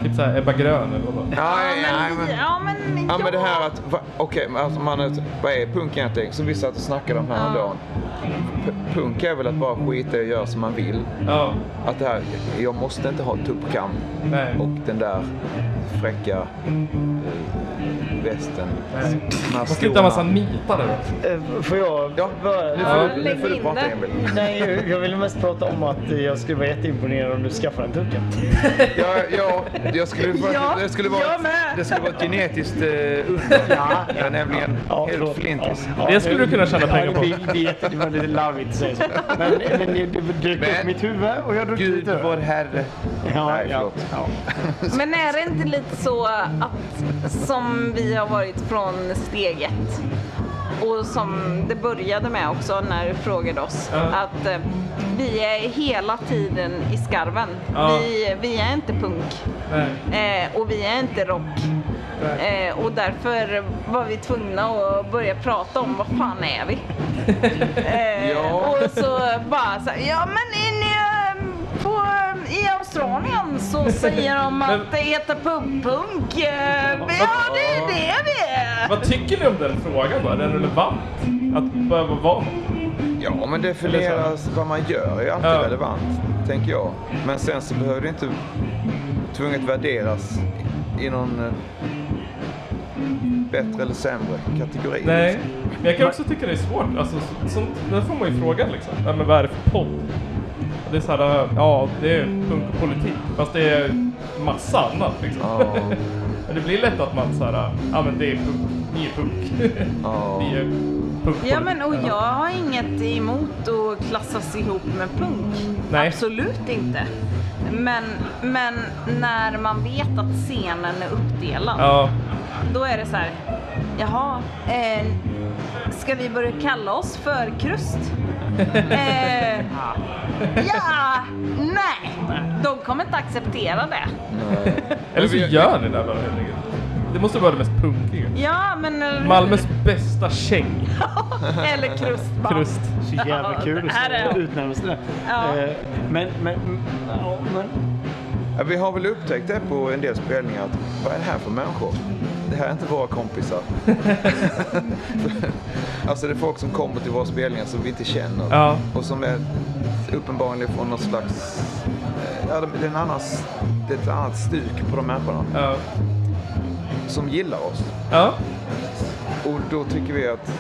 D: Typ såhär Ebba Grön eller vadå?
C: Nej, nej, men...
F: Ja, men,
C: Ja men det här att, va- okej, men alltså man, är- vad är punk egentligen? Så vi satt och snackade om häromdagen. P- punk är väl att bara skita i och göra som man vill.
D: Ja,
C: Att det här, jag måste inte ha tuppkam
D: nej.
C: och den där fräcka eh, västen.
D: nej.
C: De här
D: Man ska inte ha massa
C: skorna.
D: nitar där uppe.
E: Eh, Får jag?
C: Ja, nu
E: Bara,
C: får,
F: Ja,
C: du, nu
F: lägg
C: får du
F: in
C: prata
F: det.
C: Emil.
E: nej, jag ville mest prata om att jag skulle vara jätteimponerad om du skaffar en tucka.
C: Ja, ja, jag skulle,
F: Ja,
C: det, skulle vara,
F: jag med.
C: det skulle vara ett genetiskt
F: (laughs)
C: eh, under.
E: Ja.
C: Jag är nämligen helt flintis.
D: Det skulle du kunna tjäna pengar på.
E: Ja, det, det, det var lite larvigt att säga så. Men, men det dök upp
C: Men-
E: i mitt huvud och jag druckit
C: Gud
E: lite öl.
C: vår herre.
E: Ja,
C: Nej,
E: ja,
C: förlåt.
E: ja.
F: Men är det inte lite så att som vi har varit från steg ett och som det började med också när du frågade oss
D: Ja.
F: att eh, vi är hela tiden i skarven.
D: Ja.
F: Vi, vi är inte punk
D: Nej.
F: eh, och vi är inte rock. Eh, och därför var vi tvungna att börja prata om vad fan är
D: (laughs)
F: vi? Eh,
C: Ja.
F: Och så bara så här, ja men in i, eh, på, eh, i Australien så säger de
D: Men-
F: att det heter pubpunk. Eh, ja det är det vi är.
D: Vad tycker ni om den frågan då? Är den relevant? Att behöva vara något?
C: Ja, men
D: Eller
C: definieras vad man gör är alltid
D: Ja.
C: relevant, tänker jag. Men sen så behöver det inte tvunget värderas i någon eh, bättre eller sämre kategori.
D: Nej,
C: liksom.
D: men jag kan också tycka det är svårt. Alltså, så- sånt, där får man ju frågan liksom. Ja, men vad är det för podd? Och Det är såhär, ja det är punk och politik. Fast det är massa annat liksom.
C: Ja.
D: (laughs) Men det blir lätt att man så här, ja men det är punk, ni är punk.
C: Ja.
D: (laughs) ni är punk
F: Ja men och jag har inget emot att klassas ihop med punk.
D: Nej.
F: Absolut inte. Men, men när man vet att scenen är uppdelad,
D: Ja,
F: då är det så här, jaha, eh, ska vi börja kalla oss för krust?
D: (laughs)
F: eh, ja, nej, de kommer inte acceptera det.
D: eller så gör ni det bara helt enkelt. Det måste vara det mest punkiga.
F: Ja, men...
D: Malmös bästa käng.
F: Eller krustband.
D: Krust.
E: Så jävla kul att
F: Ja, det är
E: se
F: det.
E: utnämnelsen.
F: Ja.
E: Eh, Men, men, ja, men
C: Ja, vi har väl upptäckt det på en del spelningar att vad är det här för människor? Det här är inte våra
D: (laughs)
C: kompisar. alltså det är folk som kommer till våra spelningar som vi inte känner
D: Ja.
C: och som är uppenbarligen från någon slags, eh, ja, det är, en annan, s- det är ett annat stuk på de människorna
D: Ja.
C: som gillar oss.
D: ja.
C: Och då tycker vi att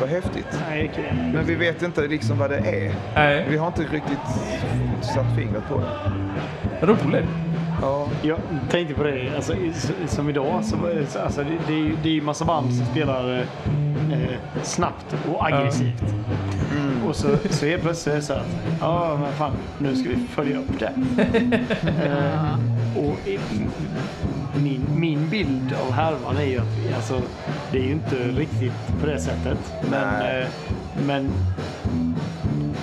C: vad häftigt.
E: nej, okej.
C: Men vi vet inte liksom vad det är. Vi
D: Nej.
C: har inte riktigt satt fingret på det.
D: Roligt.
C: Ja.
E: Jag tänkte på det, alltså, i- s- som idag, så, var det så- alltså, det, det, är ju- det är ju massa band som spelar eh, snabbt och aggressivt.
C: Mm.
E: Och så, så helt plötsligt är det så här att, ja men fan, nu ska vi följa
C: (laughs)
E: upp det. eh, och i, min, min bild av härvan är ju att vi, alltså, det är ju inte riktigt på det sättet. Men,
C: Nej.
E: eh, men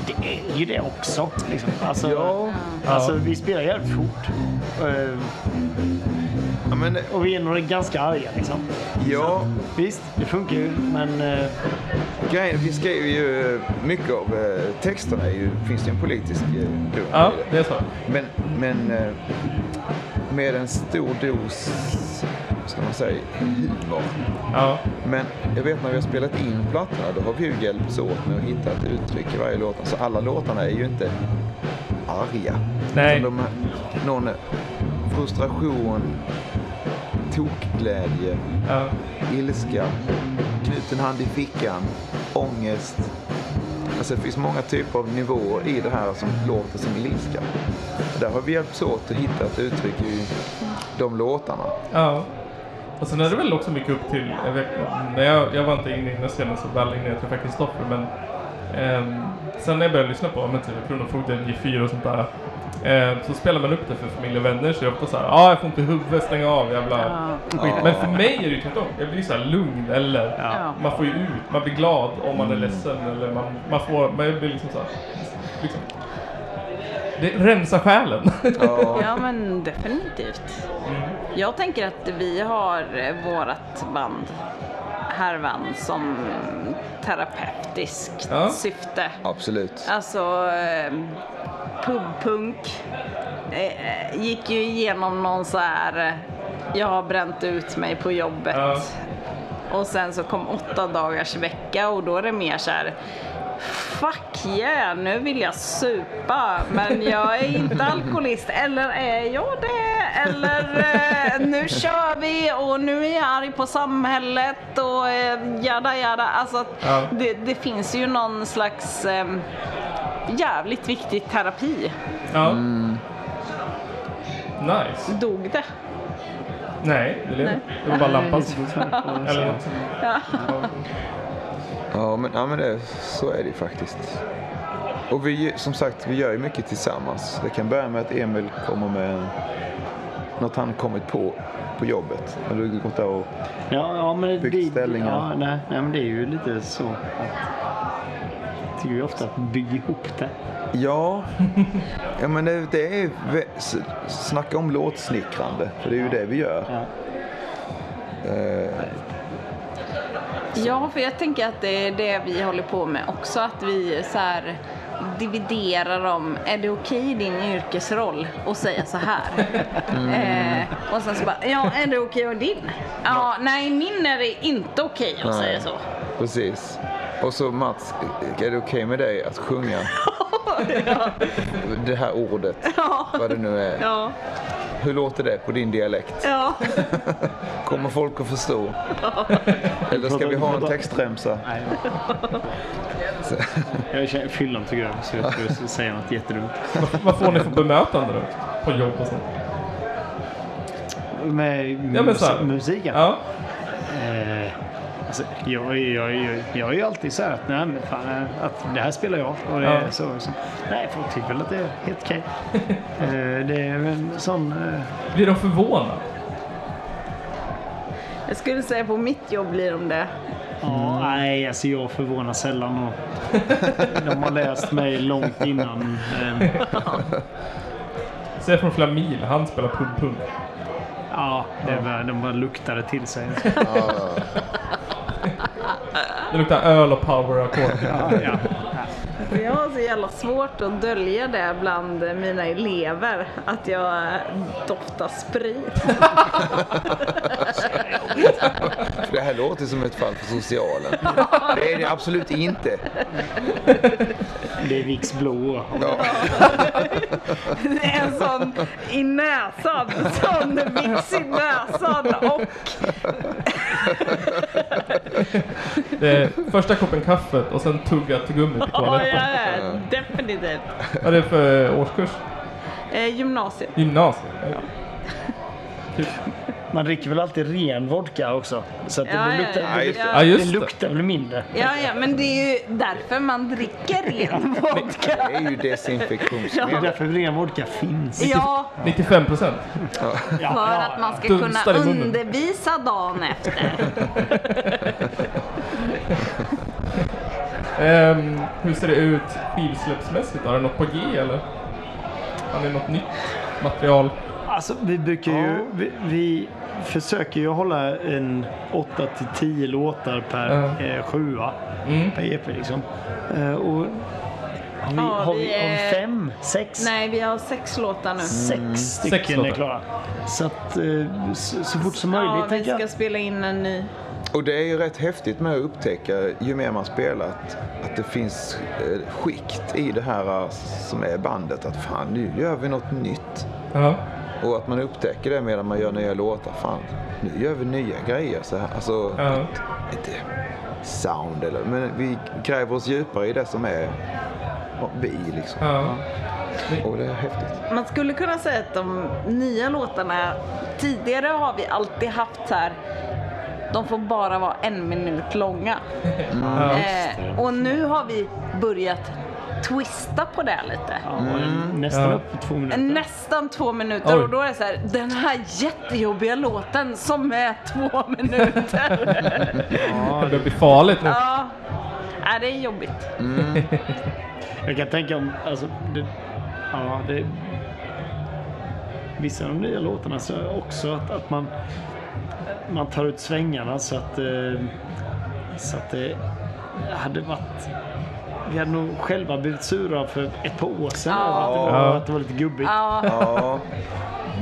E: det är ju det också. Liksom. Alltså,
C: Ja.
E: alltså,
D: Ja.
E: vi spelar jävligt fort. Eh,
C: ja, men eh,
E: och vi är nog ganska arga liksom.
C: ja.
E: Visst, det funkar ju, men... eh,
C: Grejen, vi skrev ju eh, mycket av eh, texterna är ju, finns det en politisk eh, grund
D: Ja,
C: i
D: det är så.
C: Men, men eh, med en stor dos, vad ska man säga, humor.
D: Ja.
C: Men jag vet när vi har spelat in plattorna, då har vi ju hjälpts åt med att hitta ett uttryck i varje låt. Så alla låtarna är ju inte arga.
D: Nej.
C: Utan de har någon frustration, tokglädje,
D: Ja.
C: ilska, knuten hand i fickan, ångest. Alltså det finns många typer av nivåer i det här som låter som ilska. Där har vi hjälpts åt att hitta ett uttryck i de låtarna.
D: Ja. Och sen är det väl också mycket upp till... Jag, vet, när jag, jag var inte inne i den scenen så väl innan jag träffade Kristoffer, men... ehm, sen när jag började lyssna på ja, men typ Kronofogden, G4 och sånt där, ehm, så spelar man upp det för familj och vänner, så jag är ofta såhär, ja ah, jag får inte huvudet, stänga av, jävla skit. Men för mig är det ju tvärtom. Jag blir såhär lugn eller...
F: Ja. Mm.
D: Man får ju ut, man blir glad om man är ledsen eller man, man får... Man blir liksom såhär... Liksom, det rensar själen.
F: Ja men definitivt. Jag tänker att vi har eh, vårat band Härvan som terapeutiskt
D: Ja.
F: syfte.
C: Absolut.
F: Alltså eh, pubpunk eh, gick ju igenom någon så här eh, jag har bränt ut mig på jobbet.
D: Ja.
F: Och sen så kom åtta dagars vecka och då är det mer så här Fuck yeah, nu vill jag supa men jag är inte alkoholist eller är jag det? Eller eh, nu kör vi och nu är jag arg på samhället och eh, jada jada. Alltså att
D: Ja.
F: det, det finns ju någon slags ehm, jävligt viktig terapi.
D: (laughs) Ja.
F: Mm.
D: Nice.
F: Dog det?
D: Nej, det, Nej.
F: Nej.
D: det var bara lampan som Eller något.
F: Ja.
C: Ja men, ja, men det, så är det ju faktiskt. Och vi, som sagt, vi gör ju mycket tillsammans. Det kan börja med att Emil kommer med något han kommit på på jobbet. Eller du gått där och...
E: Ja, ja, men det,
C: Byggt ställningar.
E: ja, nej, nej, men det är ju lite så att... Jag tycker ju ofta att bygga ihop det.
C: Ja, (laughs) ja men det, det är... vä- s- Snacka om låtsnickrande, för det är ju det vi gör.
E: Ja.
F: ja, för jag tänker att det är det vi håller på med också. Att vi så här dividerar om, är det okej i din yrkesroll att säga så här? Eh, och sen så bara, ja är det okej och din? Ja, nej min är det inte okej att
C: Nej.
F: säga så.
C: Precis. Och så Mats, är det okej med dig att
F: (laughs)
C: sjunga det här ordet?
F: Ja.
C: Vad det nu är.
F: Ja,
C: Hur låter det på din dialekt?
F: ja.
C: Kommer folk att förstå? Eller ska vi ha en textremsa?
E: Nej, jag känner fyllan tog över så jag skulle säga något jättedumt.
D: Vad får ni för bemötande då? På jobb och sånt?
E: med
D: Ja, men så
E: mus-
D: här.
E: musiken.
D: Ja.
E: Eh, alltså, jag, jag, jag, jag är ju alltid så här att, nej, men fan, eh, att det här spelar jag. Och det
D: Ja.
E: är så, liksom. Nej, folk tycker väl att det är helt
D: (laughs)
E: okej. eh, det är väl en sån... Eh,
D: Blir de förvånade?
F: Jag skulle säga på mitt jobb blir de det.
E: ja, nej, alltså jag förvånar sällan. Och de har läst mig långt innan. Eh,
D: Ser från flera mil, han spelar pub-punk.
E: ja, det var, de bara luktade till sig.
D: Det luktar öl och power-ackord.
E: Ja, ja.
F: För Jag har så jävla svårt att dölja det bland mina elever, att jag doftar sprit.
C: För det här låter som ett fall för socialen. Det är det absolut inte.
E: Det är Vicks blå.
F: Det är en sån i näsan, sån vits i näsan och
D: Det är första koppen kaffet och sen tugga tuggummit i
F: ja, jag
D: toaletten.
F: är definitivt.
D: Vad är det för årskurs?
F: Eh, gymnasiet.
D: Gymnasiet? Ja.
E: Man dricker väl alltid ren vodka också. Så att det,
F: Ja, ja,
E: luktar,
F: ja.
E: det,
D: Ja,
E: luktar,
D: just
E: det
D: det.
E: luktar väl mindre.
F: Ja, ja, men det är ju därför man dricker
E: (laughs)
F: ren vodka.
C: Det är ju desinfektionsmedel.
E: Det är därför ren vodka finns.
F: Ja,
D: 95 procent.
F: för att man ska kunna
D: Dunstar i munnen.
F: undervisa dagen efter.
D: Ehm, hur ser det ut skivsläppsmässigt? Har du något på G eller? Har ni något nytt material?
E: Alltså, vi brukar ju... Vi, vi försöker ju hålla en 8 till 10 låtar per
D: Ja.
E: eh, sjua.
D: Mm.
E: Per EP liksom. Eh, och har vi,
F: Ja,
E: har vi,
F: vi
E: har
F: är-
E: vi fem, sex?
F: Nej, vi har sex låtar nu.
E: Sex
D: Sex
E: stycken
D: låtar.
E: är klara. Så att eh, så, så fort som möjligt
F: Ja, vi
E: tänker
F: ska
E: jag.
F: spela in en ny.
C: Och det är ju rätt häftigt med att upptäcka ju mer man spelar att, att det finns eh, skikt i det här eh, som är bandet. Att fan, nu gör vi något nytt.
D: Ja.
C: Och att man upptäcker det medan man gör nya låtar. Fan, nu gör vi nya grejer. Så här. Alltså,
D: Ja.
C: inte sound eller... Men vi gräver oss djupare i det som är ja, vi liksom.
D: ja.
C: Och det är häftigt.
F: Man skulle kunna säga att de nya låtarna, tidigare har vi alltid haft så här, de får bara vara en minut långa.
D: ja.
F: Eh, och nu har vi börjat twista på det lite.
E: Ja, Nästan upp på två minuter.
F: Nästan två minuter
D: Oj.
F: och då är det så här, den här jättejobbiga låten som är två (laughs) minuter.
D: Det börjar bli farligt nu.
F: ja, Nej, det är jobbigt.
E: Jag kan tänka om, alltså, det, ja, det, vissa av de nya låtarna så är också att, att man, man tar ut svängarna så att, eh, så att det hade varit vi hade nog själva blivit sura för ett par år sedan
F: Ja.
E: över att, det var, att det var lite gubbigt.
F: Ja,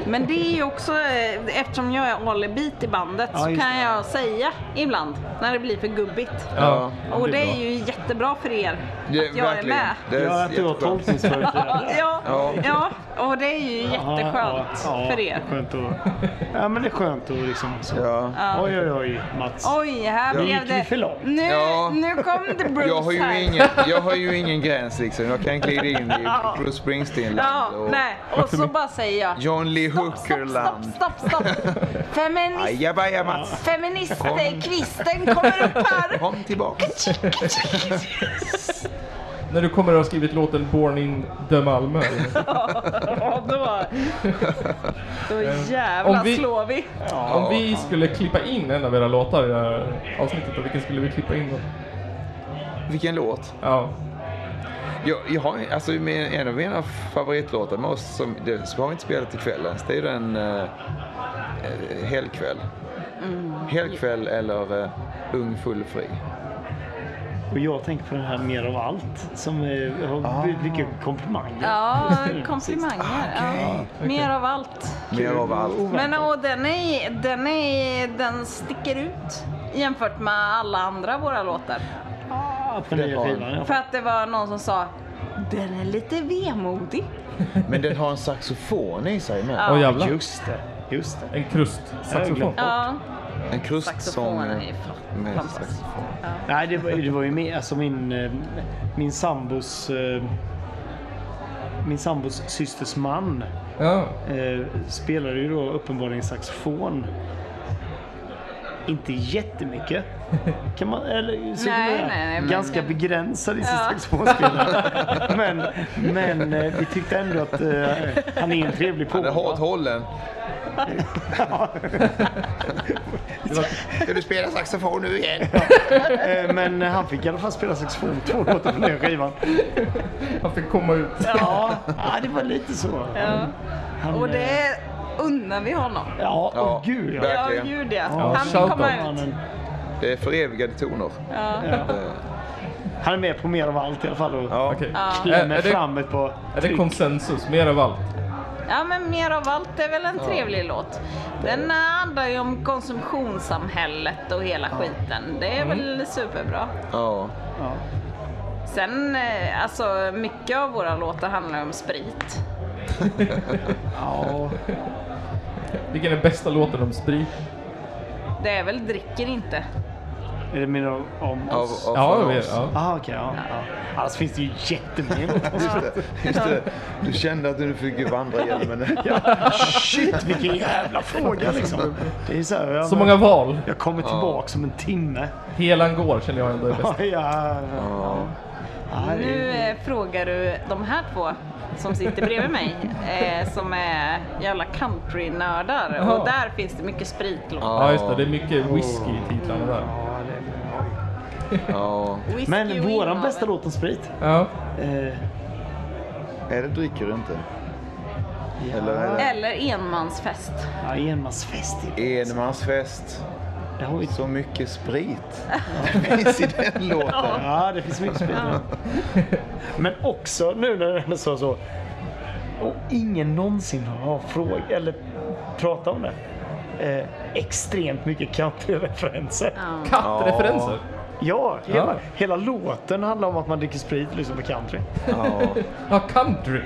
C: Ja,
F: men det är ju också, eh, eftersom jag är alibit i bandet
E: Ja,
F: så
E: just
F: kan
E: det.
F: jag säga ibland när det blir för gubbigt.
D: Ja.
F: Och
E: det
F: det
E: är
F: är ju jättebra för er att
C: det,
F: jag är med.
C: Det är
E: Ja, att du har
C: jätteskönt.
E: tolkningsföreträde.
F: Ja,
C: Ja.
F: ja, och det är ju
E: Ja,
F: jätteskönt
E: ja,
F: för er.
E: Skönt att, ja, men det är skönt att liksom så.
C: Ja.
E: Oj, oj, oj, Mats.
F: Oj, här
E: gick
F: blev
E: vi
F: det...
E: för långt.
F: Nu,
C: Ja.
F: nu kom det Bruce
C: Jag har,
F: här.
C: ju ingen, jag har ju ingen gräns liksom. Jag kan glida in i
F: Ja.
C: Bruce
F: Ja,
C: Springsteen-land och
F: nej. Och så bara säger jag...
C: John Lee
F: Stopp, stopp, stopp,
C: Hooker-land.
F: stopp, stopp.
C: (laughs)
F: Feminist,
C: Ajabaja Mats,
F: feministkvisten kommer upp här.
C: kom tillbaka.
D: När du kommer att ha skrivit låten Born in the Malmö.
F: Ja, då... Då
D: Om
F: jävlar
D: vi-
F: slår vi.
D: Om vi skulle klippa in en av era låtar i det här avsnittet, då, vilken skulle vi klippa in då?
C: Vilken låt.
D: Ja.
C: Jag, jag har, alltså, min- en av mina favoritlåtar med oss, som, det, som har vi inte spelat ikväll ens, det är ju den eh, eh, Helkväll.
F: Mm.
C: Helkväll eller eh, Ung full fri.
E: Och jag tänker på den här Mer av allt som eh, har blivit mycket komplimanger.
F: Ja, komplimanger. Ja. Mer av allt.
C: Mer av allt.
F: Men och den, är, den, är, den sticker ut jämfört med alla andra våra låtar.
E: Ah, på
C: Det
E: nya
C: har
E: skivan. ja.
F: För att det var någon som sa den är lite vemodig.
C: Men den har en saxofon i sig med.
D: Åh jävlar.
E: Just det, just det.
D: En krustsaxofon.
F: Ja,
C: En krustsång.
F: saxofonen är ju
C: med
F: fantastisk.
C: saxofon.
E: Nej, det var, det var ju mer, alltså min, eh, min sambos eh, min sambos systers man
D: Ja.
E: Eh, spelade ju då uppenbarligen saxofon. Inte jättemycket. Kan man, eller, så kan
F: Nej,
E: man säga,
F: nej, nej, men-
E: ganska begränsad i sin
F: Ja.
E: saxofonspelare. men men eh, vi tyckte ändå att eh, han är en trevlig
C: Han är
E: polare.
C: hårt hållen.
E: Det var-
C: Ska du spela saxofon nu igen?
E: Eh, Men eh, han fick i alla fall spela saxofon två låtar på den skivan.
D: Han fick komma ut.
E: Ja, ja, det var lite så.
F: Ja.
E: Han,
F: Och
E: eh,
F: det unnar vi honom.
E: Ja, åh
C: Ja.
E: gud ja.
C: Verkligen.
F: Ja, gud ja.
E: Ja,
F: Han vill
D: shout
F: komma
E: Han,
F: ut.
C: Det är förevigade toner.
F: Ja.
C: Eh,
E: han är med på mer av allt i alla fall. Och ja.
C: Ja.
D: Okej. Är,
E: Klämmer
D: är, det,
E: fram ett par
D: är det
E: tryck.
D: konsensus? Mer av allt?
F: ja, men mer av allt är väl en trevlig låt. Den eh, handlar ju om konsumtionssamhället och hela skiten. Det
E: Mm.
F: är väl superbra.
C: Ja.
E: Ja.
F: Sen, eh, alltså mycket av våra låtar handlar om sprit.
E: Ja.
D: Vilken är bästa låten om sprit?
F: Det är väl dricker inte.
E: Är det mer av, om
C: Av,
E: oss?
C: av
D: Ja,
C: av
D: vi-
C: oss.
D: ja.
E: Jaha, okej. ja, ja. Annars finns det ju jättemånga låtar.
C: (laughs) Just det, just det. Du kände att du fick vandra igenom en...
E: Ja. Shit, vilken jävla fråga liksom. Det är så, här, ja,
D: Så
E: men-
D: många val.
E: Jag kommer tillbaka om en timme. (laughs)
D: Helan går känner jag ändå är bäst.
E: Ja, ja.
C: Ja. Mm.
E: Ja, det
F: Nu
E: är-
F: eh, frågar du de här två som sitter
E: (laughs)
F: bredvid mig eh, som är jävla countrynördar
D: Jaha.
F: och där finns det mycket spritlåtar.
D: Ja, just det. Det är mycket whisky i titlarna där.
E: Ja, det är-
C: Ja.
F: Whisky
E: Men
F: och
E: våran
F: innehavet.
E: bästa låt om sprit.
D: Ja.
E: Eh,
C: Är det dricker inte?
E: ja.
C: Eller är det-
F: Eller enmansfest.
E: Ja, enmansfest.
C: Enmansfest.
E: Det har vi
C: Så mycket sprit. Det finns i den låten.
E: Ja, det finns mycket sprit. Men också nu när det är så så. Och ingen någonsin har frågat eller pratat om det. Eh, extremt mycket countryreferenser.
F: Ja.
D: Kattreferenser.
E: Ja, hela,
D: Ja.
E: hela låten handlar om att man dricker sprit och lyssnar på country.
C: Ja.
D: Ja, country.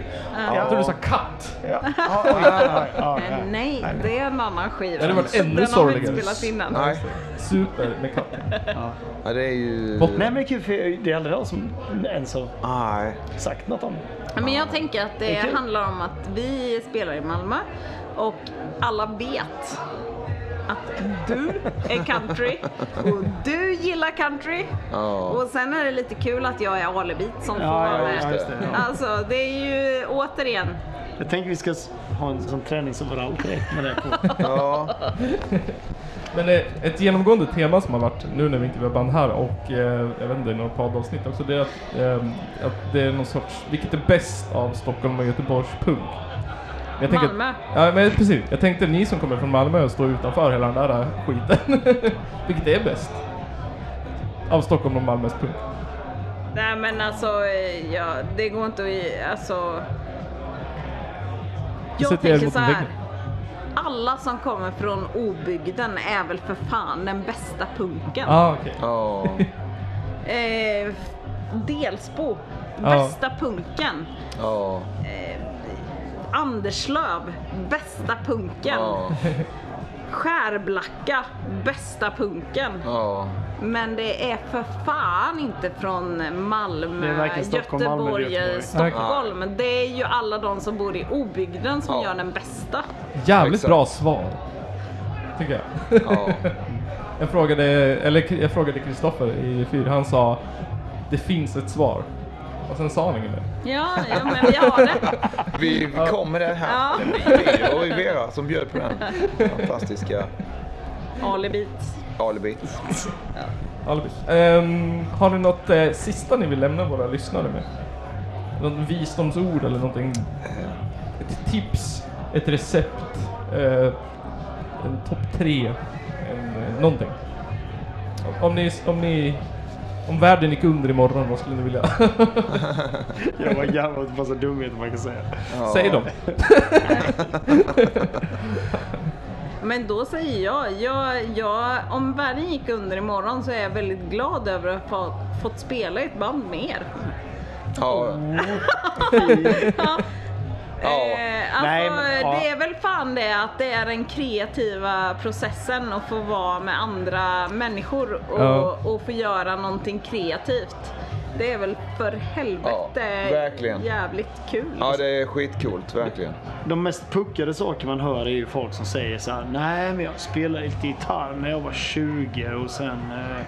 D: Jag trodde du sa katt.
E: Ja, ja, oj, ja, ja, ja.
F: Men nej, det är en annan skiva.
D: Det hade varit
F: Så
D: ännu
F: Den har vi inte
D: sorgligare.
F: spelat innan.
C: Nej.
D: Super med katt.
C: Ja, det är ju...
D: Botten.
E: Nej men det är kul för det är aldrig någon som ens har
C: Nej.
E: sagt något om det.
F: Men jag tänker att det
E: Okej.
F: handlar om att vi spelar i Malmö och alla vet att du är country och du gillar country.
C: Ja.
F: Och sen är det lite kul att jag är alibit som får
E: Ja,
F: vara
E: ja,
F: med.
E: just det, ja.
F: Alltså det är ju återigen,
E: Jag tänker vi ska s- ha en sån träningsoverall direkt med det på.
C: Ja.
D: Men eh, ett genomgående tema som har varit nu när vi inte har band här och eh, jag vet inte, i några poddavsnitt också, det är att, ehm, att det är någon sorts, vilket är bäst av Stockholm och Göteborgs punk? Men Jag tänker
F: Malmö.
D: Att, ja, men precis. Jag tänkte ni som kommer från Malmö står utanför hela den där eh, skiten. (laughs) vilket är bäst? Av Stockholm och Malmös punk.
F: nej men alltså eh, ja, det går inte att, i- alltså. Jag
D: sitter här
F: tänker
D: mot
F: så
D: en
F: här.
D: vägg.
F: Alla som kommer från obygden är väl för fan den bästa punken.
D: Ah, okej.
C: Ja.
F: Eh, Delsbo,
D: Ja.
F: bästa punken.
C: Ja.
F: Anderslöv, bästa punken.
C: Ja.
F: Skärblacka, bästa punken.
C: Ja.
F: Men det är för fan inte från
E: Det är
F: Malmö,
E: verkligen Stockholm, Malmö,
F: Göteborg,
E: Göteborg.
F: Stockholm. Det är ju alla de som bor i obygden som
C: Ja.
F: gör den bästa.
D: Jävligt
C: Exakt.
D: bra svar. Tycker jag.
C: Ja.
D: (laughs) Jag frågade, eller jag frågade Kristoffer i fyr, han sa det finns ett svar. Och sen sa han inget mer.
F: Ja, ja men vi har det.
C: Vi vi kom med det här.
F: Ja.
C: Det var ju Vera som bjöd på den fantastiska
F: Alibit.
C: alibit.
D: Albus. Ehm, har ni något eh, sista ni vill lämna våra lyssnare med? Något visdomsord eller någonting? Ett tips? Ett recept? Eh, en topp tre? En, eh, någonting? Om ni, om ni... Om världen gick under imorgon, vad skulle ni vilja?
E: (laughs)
D: (laughs)
E: Jag var gammal och massa dumheter man kan säga.
C: Ja.
D: Säg dem.
F: Men då säger jag, jag, jag om världen gick under imorgon så är jag väldigt glad över att ha fått spela i ett band med er.
C: Ja.
F: Ja.
C: Ja.
F: Eh, alltså,
E: Nej, men- ja.
F: Det är väl fan det att det är den kreativa processen att få vara med andra människor och,
D: Ja.
F: och få göra någonting kreativt. Det är väl för helvete
C: Ja, verkligen.
F: jävligt kul.
C: Ja, det är skitcoolt verkligen.
E: De mest puckade saker man hör är ju folk som säger så här. Nej, men jag spelade lite gitarr när jag var 20 och sen... eh,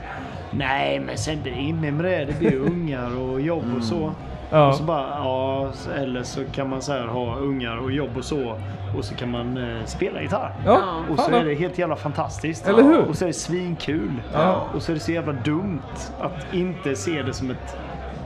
E: Nej, men sen blir det inne med det. Det blir ju ungar och jobb och så.
D: Mm. Ja.
E: Och så bara, ja, eller så kan man så här ha ungar och jobb och så. Och så kan man eh, spela gitarr.
D: Ja,
E: Och så
D: fan
E: är
D: ja.
E: det helt jävla fantastiskt.
D: Eller hur?
E: Och så är det svinkul.
D: Ja.
E: Och så är det så jävla dumt att inte se det som ett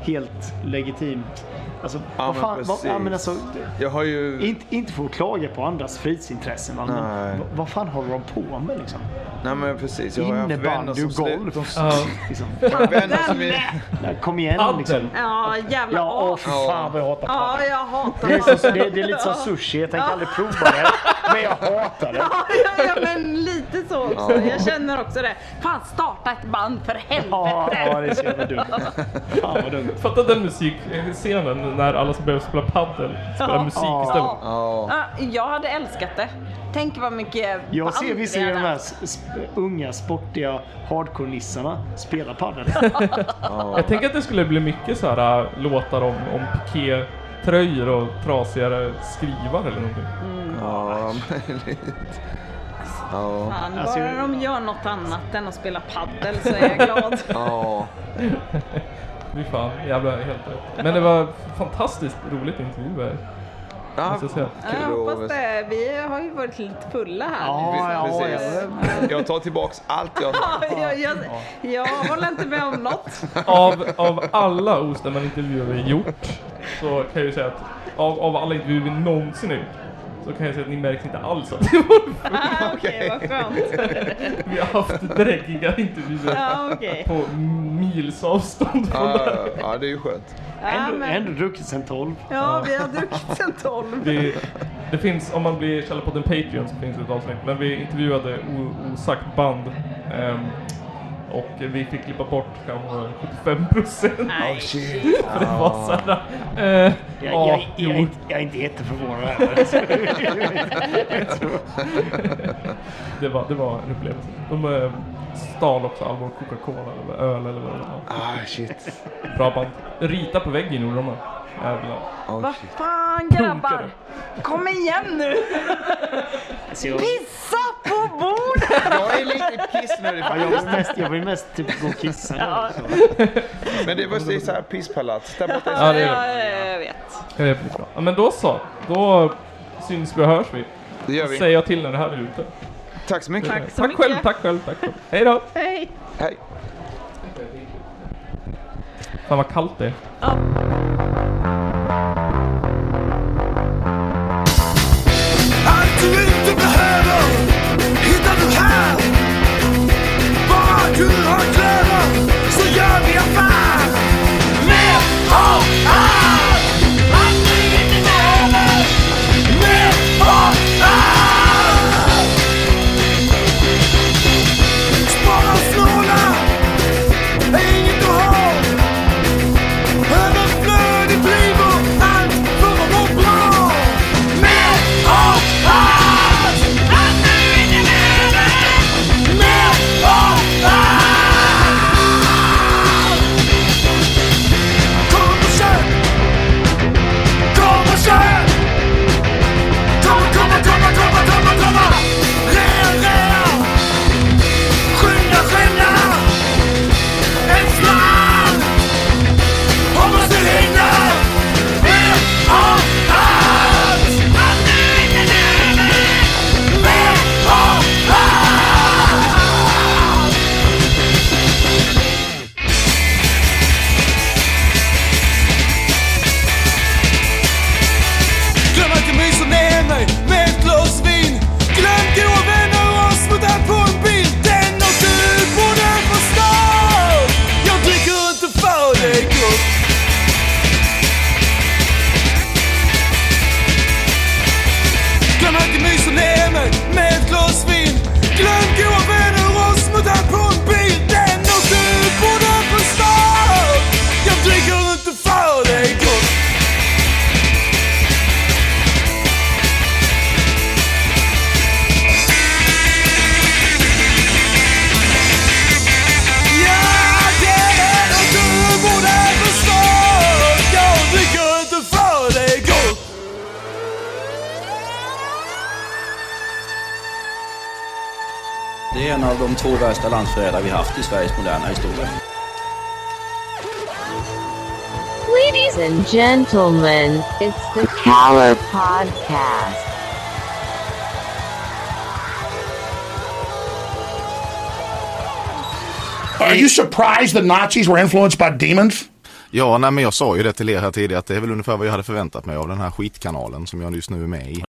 E: helt legitimt... Alltså, vad fan, vad, ja, men alltså,
C: jag har ju...
E: inte, inte få klaga på andras fritidsintressen. va,
C: Nej.
E: Men, vad, vad fan håller de på med liksom?
C: Nej men precis, jag har ju haft
E: Innebandy
C: vänner som...
E: och golf.
C: slut-
D: Ja.
E: liksom.
C: (laughs) Vänner som är...
E: Ja, Kom igen liksom.
D: Adden.
F: Ja, jävla
E: Ja, åh
F: as.
E: fy fan vad jag hatar padel.
F: Ja, jag hatar
E: Det är, så,
F: padel.
E: det, det är lite som sushi, jag tänker aldrig prova det. Men jag hatar det.
F: Ja, ja, ja, men lite så också. Jag känner också det. Fan, starta ett band för
E: Ja, ja,
F: helvete.
E: det är så jävla dumt. Fan vad dumt.
D: Fatta den musikscenen när alla som behöver spela padel spelar
F: Ja.
D: musik
E: Ja.
D: istället.
C: Ja.
F: Ja, jag hade älskat det. Tänk vad mycket
E: Jag
F: band
E: ser
F: vi
E: visserligen de
F: hade
E: här
F: haft.
E: s- sp- unga sportiga hardcore-nissarna spela padel.
D: Jag tänker att det skulle bli mycket så här äh, låtar om, om piké-tröjor och trasigare skrivar eller någonting.
C: Ja, möjligt. Ja.
F: Fan,
E: Alltså,
F: bara
E: jag-
F: de gör något annat än att spela paddel så är jag glad.
C: Ja.
D: Fy fan, jävla helt rätt. Men det var fantastiskt roligt intervju här.
C: ja.
D: Måste
C: (laughs)
D: jag säga.
F: Ja, jag hoppas det. Vi har ju varit lite fulla här.
E: Ja, ja, ja.
C: Precis. Jag tar tillbaks allt jag...
F: Ja, Jag, jag, jag håller inte med om något.
D: Av, av alla ostämmande intervjuer vi gjort så kan jag ju säga att av, av alla intervjuer vi någonsin har gjort så kan jag säga att ni märks inte alls att vi har-
F: Ah, Okej, vad skönt.
D: vi har haft dräggiga intervjuer
F: Ja, okej.
D: på mils avstånd från
C: Ja,
D: det här.
C: ja, ja, det är ju skönt.
F: Ja,
E: Ändå,
F: men,
E: ändå druckit sen 12.
F: ja, vi har druckit sen
D: (laughs)
F: tolv.
D: Det, det finns, om man blir Källarpodden Patreon så finns det ett avsnitt, men vi intervjuade o, osagt band ehm, och vi fick klippa bort kanske 75 procent.
C: Oh,
F: Nej,
D: För det var såhär... Eh,
E: Jag,
D: ja,
E: jag,
D: jo.
E: jag, är inte- jag är inte jätteförvånad heller.
D: det, var, det var en upplevelse. De eh, stal också all vår Coca-Cola eller öl eller vad det var.
C: Ah, shit.
D: Bra band. Rita på väggen gjorde de. här. Jävlar.
C: Oh,
F: vad
C: shit.
F: fan
D: Dunkar
F: grabbar. Kom igen nu.
E: Alltså, jag,
F: Pissa på bordet.
C: Jag är lite pissnödig
E: ja, jag, vill mest, jag vill mest typ gå och kissa. Ja.
C: Men det var ju så här pisspalats. Där borta
D: Ja, det är
F: ja, jag vet.
D: Eh, bra. Ja, men då så. Då syns vi och hörs vi.
C: Det gör vi.
D: Säger jag till när det här är ute.
C: Tack så mycket.
F: Tack så
D: tack
F: mycket.
D: själv, tack själv, tack själv. Hej då!
F: Hej.
C: Hej.
D: Fan vad kallt det är.
F: Ja.
G: Allt du inte behöver hittar du här. Bara du har kläder så gör vi affär. Mer av allt! Allt du inte behöver. Mer av allt! Spara och snåla är inget du har. Överflöd
A: Det är en av de två värsta landsförrädare vi haft i Sveriges moderna historia.
B: Ladies and gentlemen, it's the Caller Podcast.
G: Are you surprised the Nazis were influenced by demons?
H: Ja, nej, men jag sa ju det till er här tidigare att det är väl ungefär vad jag hade förväntat mig av den här skitkanalen som jag just nu är med i.